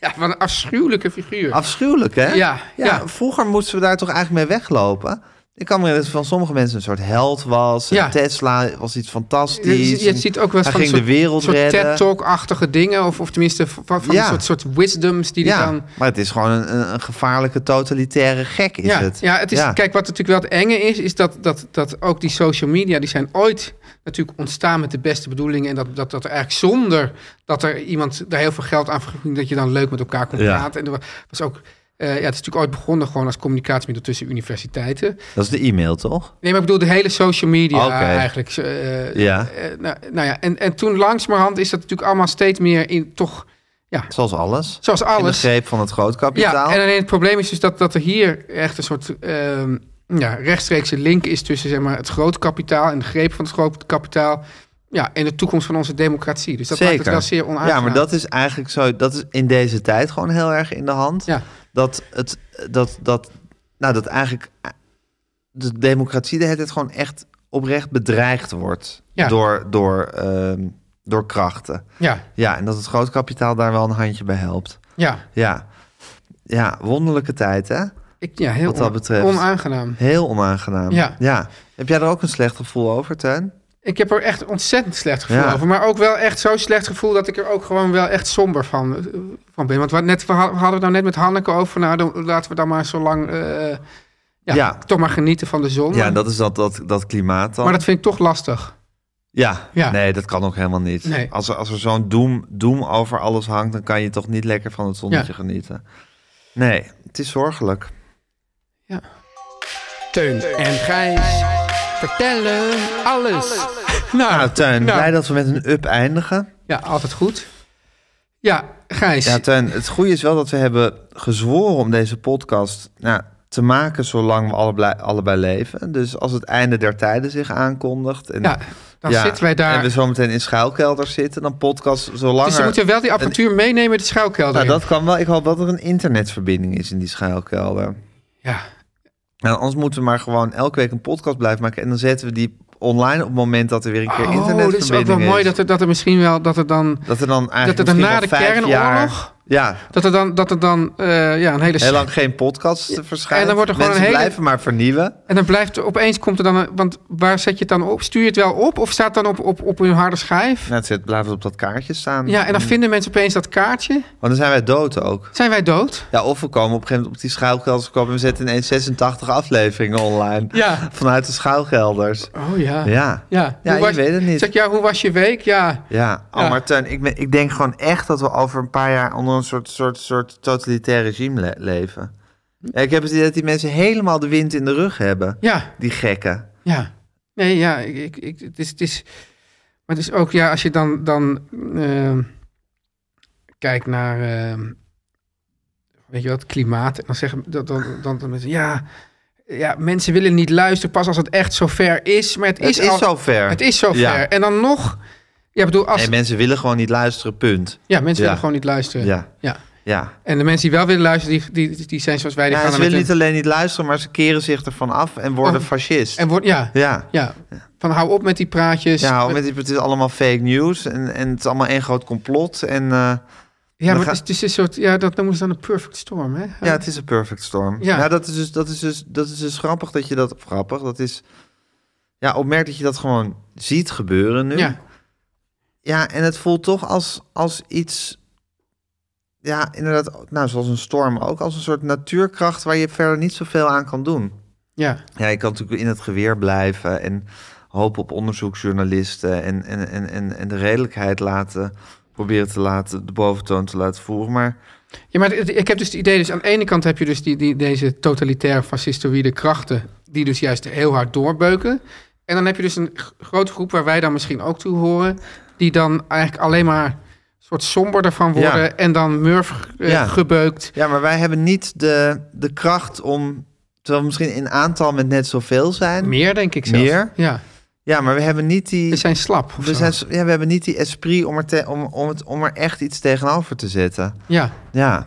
S3: Ja, wat een afschuwelijke figuur.
S1: Afschuwelijk, hè?
S3: Ja, ja.
S1: Vroeger moesten we daar toch eigenlijk mee weglopen. Ik kan me herinneren dat van sommige mensen een soort held was. En
S3: Ja.
S1: Tesla was iets fantastisch.
S3: je, je ziet ook wel
S1: Hij
S3: eens van
S1: ging
S3: soort,
S1: de wereld
S3: soort
S1: redden.
S3: TED-talk-achtige dingen. Of, of tenminste van, van
S1: Ja.
S3: een soort, soort wisdoms die die
S1: ja,
S3: dan...
S1: maar het is gewoon een, een, een gevaarlijke totalitaire gek is
S3: ja,
S1: het.
S3: ja, het is, kijk, wat natuurlijk wel het enge is, is dat, dat, dat ook die social media, die zijn ooit natuurlijk ontstaan met de beste bedoelingen. En dat, dat, dat er eigenlijk zonder dat er iemand daar heel veel geld aan vergoedt, dat je dan leuk met elkaar kon
S1: Ja.
S3: praten. En dat was ook, eh, ja, het is natuurlijk ooit begonnen gewoon als communicatiemiddel tussen universiteiten.
S1: Dat is de e-mail, toch?
S3: Nee, maar ik bedoel de hele social media
S1: Oké.
S3: eigenlijk. eh,
S1: Ja.
S3: eh, nou, nou ja, en, en toen langzamerhand is dat natuurlijk allemaal steeds meer in toch Ja.
S1: Zoals alles.
S3: Zoals
S1: In de
S3: alles.
S1: greep van het grootkapitaal.
S3: Ja, en alleen het probleem is dus dat, dat er hier echt een soort ehm, ja, rechtstreekse link is tussen zeg maar, het grootkapitaal en de greep van het grootkapitaal. Ja, en de toekomst van onze democratie. Dus dat maakt het wel zeer onaangenaam.
S1: Ja, maar dat is eigenlijk zo. Dat is in deze tijd gewoon heel erg in de hand.
S3: Ja.
S1: Dat het dat dat nou dat eigenlijk de democratie de hele tijd gewoon echt oprecht bedreigd wordt
S3: Ja.
S1: door door ehm, door krachten.
S3: Ja.
S1: Ja, en dat het grootkapitaal daar wel een handje bij helpt.
S3: Ja.
S1: Ja. Ja, wonderlijke tijd, hè?
S3: Ik, ja, heel
S1: Wat dat
S3: on-
S1: betreft.
S3: onaangenaam.
S1: Heel onaangenaam.
S3: Ja.
S1: ja. Heb jij er ook een slecht gevoel over, Tuin?
S3: Ik heb er echt ontzettend slecht gevoel
S1: Ja.
S3: over. Maar ook wel echt zo slecht gevoel dat ik er ook gewoon wel echt somber van, eh, van ben. Want wat net, we hadden we hadden het nou net met Hanneke over. Nou, dan, laten we dan maar zo lang eh, ja,
S1: Ja.
S3: toch maar genieten van de zon.
S1: Ja, dat is dat, dat, dat klimaat dan.
S3: Oh, Maar dat vind ik toch lastig.
S1: Ja,
S3: Ja.
S1: nee, dat kan ook helemaal niet.
S3: Nee.
S1: Als er, als er zo'n doem, doem over alles hangt, dan kan je toch niet lekker van het zonnetje
S3: Ja.
S1: genieten. Nee, het is zorgelijk.
S3: Teun en Gijs vertellen alles.
S1: Nou, Tuin, blij dat we met een up eindigen.
S3: Ja, altijd goed. Ja, Gijs.
S1: Ja, Tuin, het goede is wel dat we hebben gezworen om deze podcast nou, te maken zolang we allebei, allebei leven. Dus als het einde der tijden zich aankondigt en
S3: Ja, dan zitten wij daar.
S1: En we zometeen in schuilkelders zitten, dan podcast zolang
S3: dus dan
S1: er-
S3: moeten we wel die apparatuur meenemen de schuilkelder.
S1: Nou,
S3: in.
S1: dat kan wel. Ik hoop dat er een internetverbinding is in die schuilkelder.
S3: Ja,
S1: Nou, anders moeten we maar gewoon elke week een podcast blijven maken. En dan zetten we die online op het moment dat er weer een keer
S3: Oh,
S1: internetverbinding
S3: dat
S1: is.
S3: is ook wel mooi dat er, dat er misschien wel dat er dan
S1: Dat er dan eigenlijk
S3: dat er dan
S1: misschien
S3: na
S1: wel
S3: de
S1: vijf
S3: kernoorlog-
S1: Jaar, ja,
S3: dat er dan dat er dan eh, ja een hele
S1: heel lang geen podcast te verschijnen.
S3: en dan wordt er gewoon
S1: Mensen
S3: een hele-
S1: blijven maar vernieuwen.
S3: en dan blijft er- opeens komt er dan een, want waar zet je het dan op? Stuur je het wel op of staat het dan op op op een harde schijf?
S1: Nou, het zit, blijft op dat kaartje staan.
S3: Ja, en dan vinden mensen opeens dat kaartje.
S1: Want dan zijn wij dood ook.
S3: Zijn wij dood?
S1: Ja, of we komen op een gegeven moment op die schuilkelders komen en we zetten ineens 86 afleveringen online.
S3: Ja.
S1: Vanuit de schuilkelders.
S3: Oh ja.
S1: Ja.
S3: Ja,
S1: Ja, je
S3: was,
S1: weet het niet.
S3: Zeg ja, hoe was je week? Ja.
S1: Ja, oh,
S3: Ja.
S1: maar Teun, ik, ben- ik denk gewoon echt dat we over een paar jaar onder een soort, soort, soort totalitair regime le- leven. Ja, ik heb het idee dat die mensen helemaal de wind in de rug hebben.
S3: Ja.
S1: Die gekken.
S3: Ja. Nee, ja, ik, ik, ik- het, is, het is... Maar het is ook, ja, als je dan, dan ehm, kijkt naar, ehm, weet je wat, klimaat. En dan zeggen dan, dan, dan, dan mensen, ja, ja, mensen willen niet luisteren pas als het echt zover is. Maar het,
S1: Het is,
S3: al-
S1: zover.
S3: Het is zover.
S1: Ja.
S3: En dan nog, ja, bedoel, als...
S1: En mensen willen gewoon niet luisteren, punt.
S3: ja, mensen
S1: ja.
S3: willen gewoon niet luisteren.
S1: Ja.
S3: ja.
S1: Ja.
S3: En de mensen die wel willen luisteren, die, die, die zijn zoals wij. Die
S1: ja
S3: gaan
S1: ze
S3: dan
S1: willen
S3: met
S1: niet alleen niet luisteren, maar ze keren zich ervan af en worden
S3: Oh.
S1: fascist.
S3: hun- En wordt, ja, dus-
S1: ja.
S3: ja. Van hou op met die praatjes.
S1: Ja, met, die- het is allemaal fake news en, en het is allemaal één groot complot. En eh,
S3: Ja, maar
S1: Dan
S3: het is, het is een soort, ja, dat noemen ze dan een perfect storm, hè?
S1: ja, het is een perfect storm. Ja,
S3: Ja.
S1: dat, is dus, dat, is dus, dat is dus grappig dat je dat... of Grappig, dat is... Ja, opmerk dat je dat gewoon ziet gebeuren nu.
S3: Ja,
S1: Ja, en het voelt toch als, als iets. Ja, inderdaad, nou, zoals een storm ook. Als een soort natuurkracht waar je verder niet zoveel aan kan doen.
S3: ja,
S1: Ja, je kan natuurlijk in het geweer blijven en hopen op onderzoeksjournalisten en, en, en, en, en de redelijkheid laten. Proberen te laten, de boventoon te laten voeren. Maar
S3: ja maar het- ik heb dus het idee, dus aan de ene kant heb je dus die, die, deze totalitaire fascistoïde krachten, die dus juist heel hard doorbeuken. En dan heb je dus een g- grote groep waar wij dan misschien ook toe horen, die dan eigenlijk alleen maar een soort somberder van worden
S1: Ja.
S3: en dan murf eh,
S1: Ja.
S3: gebeukt.
S1: ja, maar wij hebben niet de, de kracht om. Terwijl we misschien in aantal met net zoveel zijn.
S3: Meer, denk ik zelfs.
S1: Meer? Dus
S3: Ja,
S1: Ja, maar we hebben niet die.
S3: we zijn slap. of
S1: We,
S3: zo.
S1: zijn, s- ja, we hebben niet die esprit om er, te- om, om, het, om er echt iets tegenover te zetten.
S3: Ja,
S1: Ja.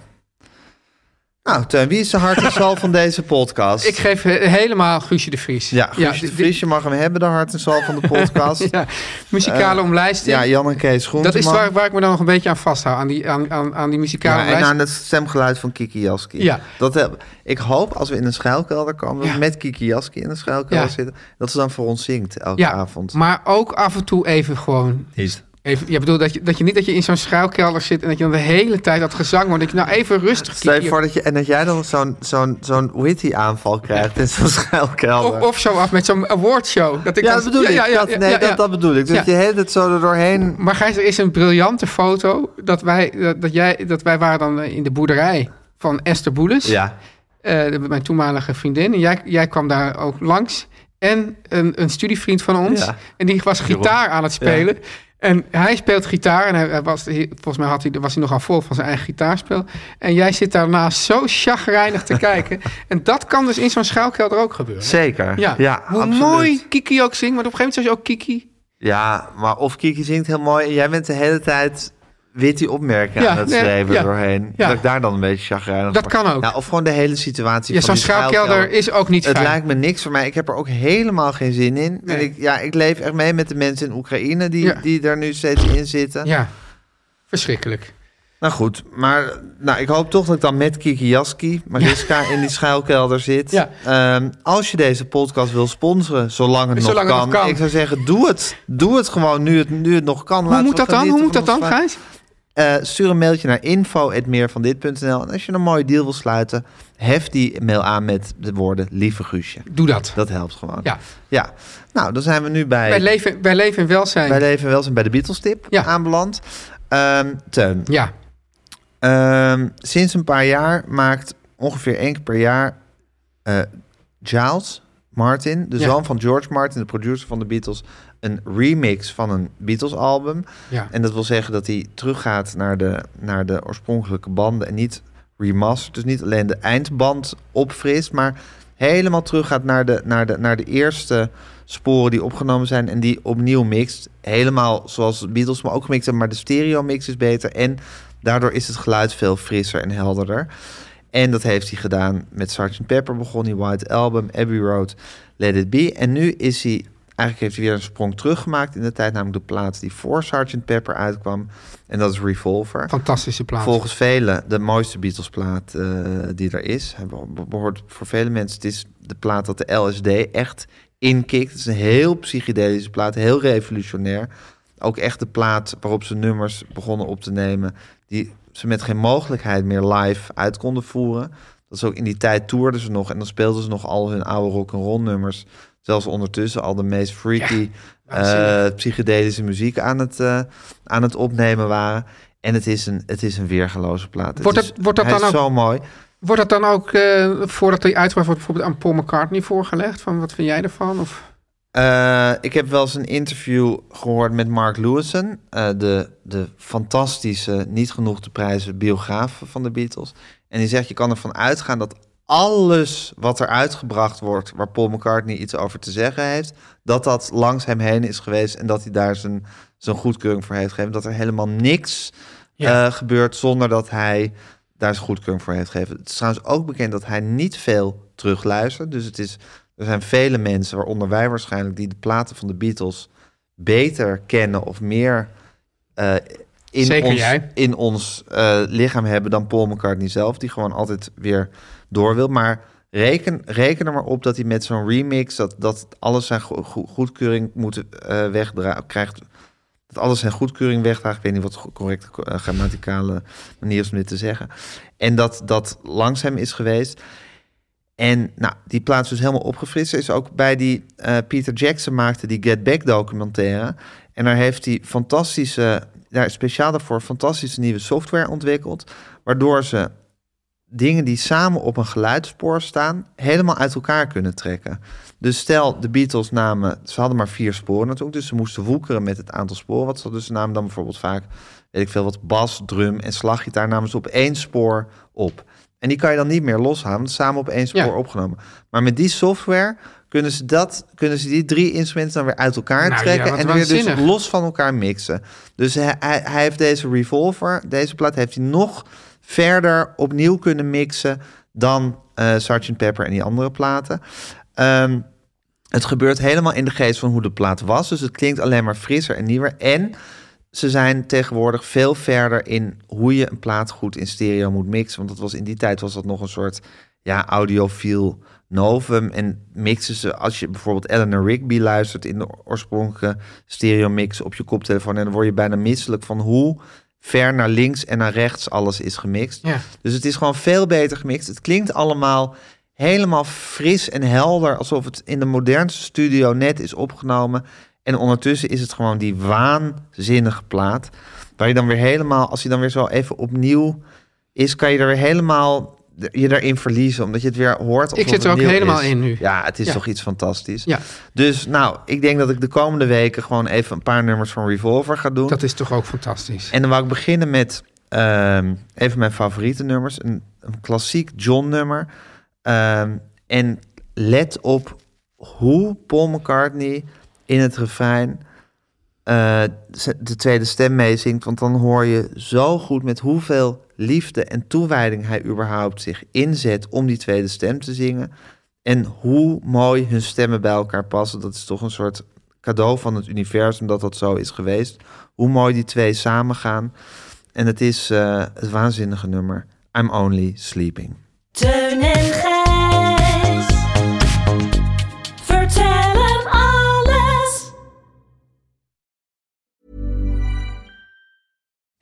S1: Nou, Teun, wie is de hart en zal van deze podcast?
S3: ik geef he- helemaal Guusje de Vries.
S1: Ja, Guusje
S3: di-
S1: de Vries, je mag hem hebben, de hart en zal van de podcast.
S3: di- Ja, muzikale
S1: Eh,
S3: omlijsting.
S1: ja, Jan en Kees
S3: Dat
S1: Groenteman.
S3: is waar, waar ik me dan nog een beetje aan vasthoud. Aan die, aan, aan, aan die muzikale
S1: Ja,
S3: lijst.
S1: en aan het stemgeluid van Kiki Jaski.
S3: Ja.
S1: Dat heb, ik hoop als we in een schuilkelder komen, dat we
S3: Ja.
S1: met Kiki Jaski in een schuilkelder
S3: Ja.
S1: zitten, dat ze dan voor ons zingt elke
S3: Ja,
S1: avond.
S3: Maar ook af en toe even gewoon...
S1: Is.
S3: Even, ja, bedoel, dat je, dat je niet dat je in zo'n schuilkelder zit... en dat je dan de hele tijd dat gezang hoort. Dat je nou even rustig...
S1: Stel je
S3: Kiki-
S1: voor dat je, en dat jij dan zo'n zo'n zo'n witty aanval krijgt in zo'n schuilkelder.
S3: of, of zo af met zo'n awardshow. Dat ik
S1: Ja,
S3: dan-
S1: dat bedoel ik.
S3: Ja, ja,
S1: dat,
S3: ja,
S1: nee,
S3: ja, ja.
S1: Dat, dat bedoel ik. Dat
S3: Ja.
S1: je de hele tijd zo er doorheen...
S3: Maar Gijs, er is een briljante foto... dat wij, dat, dat jij, dat wij waren dan eh, in de boerderij van Esther Boeles.
S1: Ja.
S3: eh, mijn toenmalige vriendin. En jij, jij kwam daar ook langs. En een, een studievriend van ons.
S1: Ja.
S3: En die was gitaar aan het spelen. En hij speelt gitaar en hij, hij was, hij- volgens mij had hij, was hij nogal vol van zijn eigen gitaarspel. En jij zit daarna zo chagrijnig te kijken. En dat kan dus in zo'n schuilkelder ook gebeuren.
S1: Zeker.
S3: Ja,
S1: Ja,
S3: hoe
S1: absoluut.
S3: mooi Kiki ook zingt, maar op een gegeven moment was je ook Kiki.
S1: Ja, maar of Kiki zingt heel mooi en jij bent de hele tijd wit die opmerkingen
S3: Ja,
S1: aan het
S3: nee,
S1: schrijven
S3: ja,
S1: doorheen.
S3: ja.
S1: Dat ik daar dan een beetje chagrijnig
S3: Dat kan ook.
S1: Nou, of gewoon de hele situatie
S3: Ja,
S1: van
S3: zo'n
S1: die
S3: schuilkelder is ook niet
S1: Het
S3: fijn.
S1: lijkt me niks voor mij. Ik heb er ook helemaal geen zin in.
S3: Nee.
S1: En ik, ja, ik leef echt mee met de mensen in Oekraïne die,
S3: Ja.
S1: die daar nu steeds in zitten.
S3: Ja, verschrikkelijk.
S1: Nou goed, maar nou, ik hoop toch dat ik dan met Kiki Jaski, Mariska, in die schuilkelder zit.
S3: Ja.
S1: Ehm, als je deze podcast wil sponsoren, zolang het,
S3: Zolang
S1: nog,
S3: het
S1: kan,
S3: nog kan.
S1: Ik zou zeggen, doe het. Doe het gewoon nu het, nu het nog kan.
S3: Hoe
S1: Laten
S3: moet
S1: we
S3: dat dan?
S1: genieten
S3: Hoe moet
S1: van
S3: dat dan,
S1: ons verhaal.
S3: Gijs?
S1: Eh, stuur een mailtje naar info.meervandit.nl. En als je een mooie deal wil sluiten, hef die mail aan met de woorden lieve Guusje.
S3: Doe dat.
S1: Dat helpt gewoon.
S3: Ja.
S1: ja. Nou, dan zijn we nu bij,
S3: Wij leven, wij leven in welzijn.
S1: bij Leven Welzijn bij de Beatles tip
S3: Ja.
S1: aanbeland. Ehm Teun,
S3: Ja,
S1: Ehm, sinds een paar jaar maakt ongeveer één keer per jaar eh, Giles Martin, de
S3: Ja.
S1: zoon van George Martin, de producer van de Beatles, een remix van een Beatles-album.
S3: ja.
S1: En dat wil zeggen dat hij teruggaat naar de, naar de oorspronkelijke banden en niet remastert. Dus niet alleen de eindband opfrist, maar helemaal teruggaat naar de, naar de, naar de eerste sporen die opgenomen zijn en die opnieuw mixt. Helemaal zoals de Beatles maar ook mixen, maar de stereo mix is beter. En daardoor is het geluid veel frisser en helderder. En dat heeft hij gedaan met Sgt. Pepper, begon hij White Album, Abbey Road, Let It Be. En nu is hij, eigenlijk heeft hij weer een sprong teruggemaakt in de tijd, namelijk de plaat die voor Sgt. Pepper uitkwam. En dat is Revolver.
S3: fantastische plaats.
S1: Volgens velen de mooiste Beatles-plaat eh, die er is. Hij be- behoort voor vele mensen. Het is de plaat dat de LSD echt inkikt. Het is een heel psychedelische plaat, heel revolutionair. Ook echt de plaat waarop ze nummers begonnen op te nemen. die ze met geen mogelijkheid meer live uit konden voeren. Dat is ook in die tijd toerden ze nog en dan speelden ze nog al hun oude rock'n'roll nummers. Zelfs ondertussen al de meest freaky
S3: waanzinnig.
S1: eh, psychedelische muziek aan het, eh, aan het opnemen waren. En het is een, het is een weergeloze plaat.
S3: Wordt
S1: het,
S3: dat- wordt dat
S1: hij
S3: dan
S1: is
S3: ook-
S1: zo mooi.
S3: Wordt dat dan ook, eh, voordat hij uitbracht, wordt bijvoorbeeld aan Paul McCartney voorgelegd? Van wat vind jij ervan? Of,
S1: Eh, ik heb wel eens een interview gehoord met Mark Lewison, eh, de, de fantastische, niet genoeg te prijzen biograaf van de Beatles. En die zegt, je kan ervan uitgaan dat alles wat er uitgebracht wordt, waar Paul McCartney iets over te zeggen heeft, dat dat langs hem heen is geweest en dat hij daar zijn, zijn goedkeuring voor heeft gegeven. Dat er helemaal niks
S3: Ja.
S1: eh, gebeurt zonder dat hij daar zijn goedkeuring voor heeft gegeven. Het is trouwens ook bekend dat hij niet veel terugluistert. Dus het is, er zijn vele mensen, waaronder wij waarschijnlijk, die de platen van de Beatles beter kennen of meer eh, in
S3: Zeker
S1: ons,
S3: jij.
S1: in ons eh, lichaam hebben dan Paul McCartney zelf, die gewoon altijd weer door wil. Maar reken, reken er maar op dat hij met zo'n remix, dat, dat alles zijn go- go- goedkeuring moet eh wegdragen, krijgt dat alles zijn goedkeuring wegdraagt. Ik weet niet wat de go- correcte eh, grammaticale manier is om dit te zeggen. En dat dat langs hem is geweest. En nou, die plaats dus helemaal opgefrist. Er Is ook bij die eh, Peter Jackson maakte die Get Back documentaire. En daar heeft hij fantastische, daar is speciaal daarvoor fantastische nieuwe software ontwikkeld. Waardoor ze dingen die samen op een geluidspoor staan, helemaal uit elkaar kunnen trekken. Dus stel, de Beatles namen, ze hadden maar vier sporen natuurlijk, dus ze moesten woekeren met het aantal sporen. Wat ze hadden. dus ze namen dan bijvoorbeeld vaak, weet ik veel, wat bas, drum en slaggitaar namen ze op één spoor op. En die kan je dan niet meer loshalen, want samen op één spoor
S3: Ja.
S1: opgenomen. Maar met die software kunnen ze, dat, kunnen ze die drie instrumenten dan weer uit elkaar
S3: Nou ja,
S1: trekken
S3: wat
S1: en weer dus
S3: waanzinnig.
S1: los van elkaar mixen. Dus hij, hij, hij heeft deze revolver, deze plaat, heeft hij nog verder opnieuw kunnen mixen dan eh Sgt. Pepper en die andere platen. Ehm, het gebeurt helemaal in de geest van hoe de plaat was. Dus het klinkt alleen maar frisser en nieuwer. En ze zijn tegenwoordig veel verder in hoe je een plaat goed in stereo moet mixen. Want dat was in die tijd was dat nog een soort ja, audiofiel novum. En mixen ze, als je bijvoorbeeld Eleanor Rigby luistert in de oorspronkelijke stereo mix op je koptelefoon. En dan word je bijna misselijk van hoe ver naar links en naar rechts alles is gemixt.
S3: Ja.
S1: Dus het is gewoon veel beter gemixt. Het klinkt allemaal helemaal fris en helder, alsof het in de modernste studio net is opgenomen. En ondertussen is het gewoon die waanzinnige plaat. Waar je dan weer helemaal, als hij dan weer zo even opnieuw is, kan je er weer helemaal de- je daarin verliezen, omdat je het weer hoort. alsof
S3: Ik zit er
S1: het
S3: ook
S1: nieuw
S3: helemaal
S1: is.
S3: in nu.
S1: Ja, het is
S3: Ja.
S1: toch iets fantastisch.
S3: Ja.
S1: Dus nou, ik denk dat ik de komende weken gewoon even een paar nummers van Revolver ga doen.
S3: Dat is toch ook fantastisch.
S1: En dan wou ik beginnen met ehm een van mijn favoriete nummers. Een, een klassiek John-nummer. Ehm, en let op hoe Paul McCartney in het refrein eh, ze- de tweede stem meezingt. Want dan hoor je zo goed met hoeveel liefde en toewijding hij überhaupt zich inzet om die tweede stem te zingen. En hoe mooi hun stemmen bij elkaar passen. Dat is toch een soort cadeau van het universum dat dat zo is geweest. Hoe mooi die twee samengaan. En het is eh, het waanzinnige nummer. I'm only sleeping.
S8: Teun en Gijs. Vertel hem alles.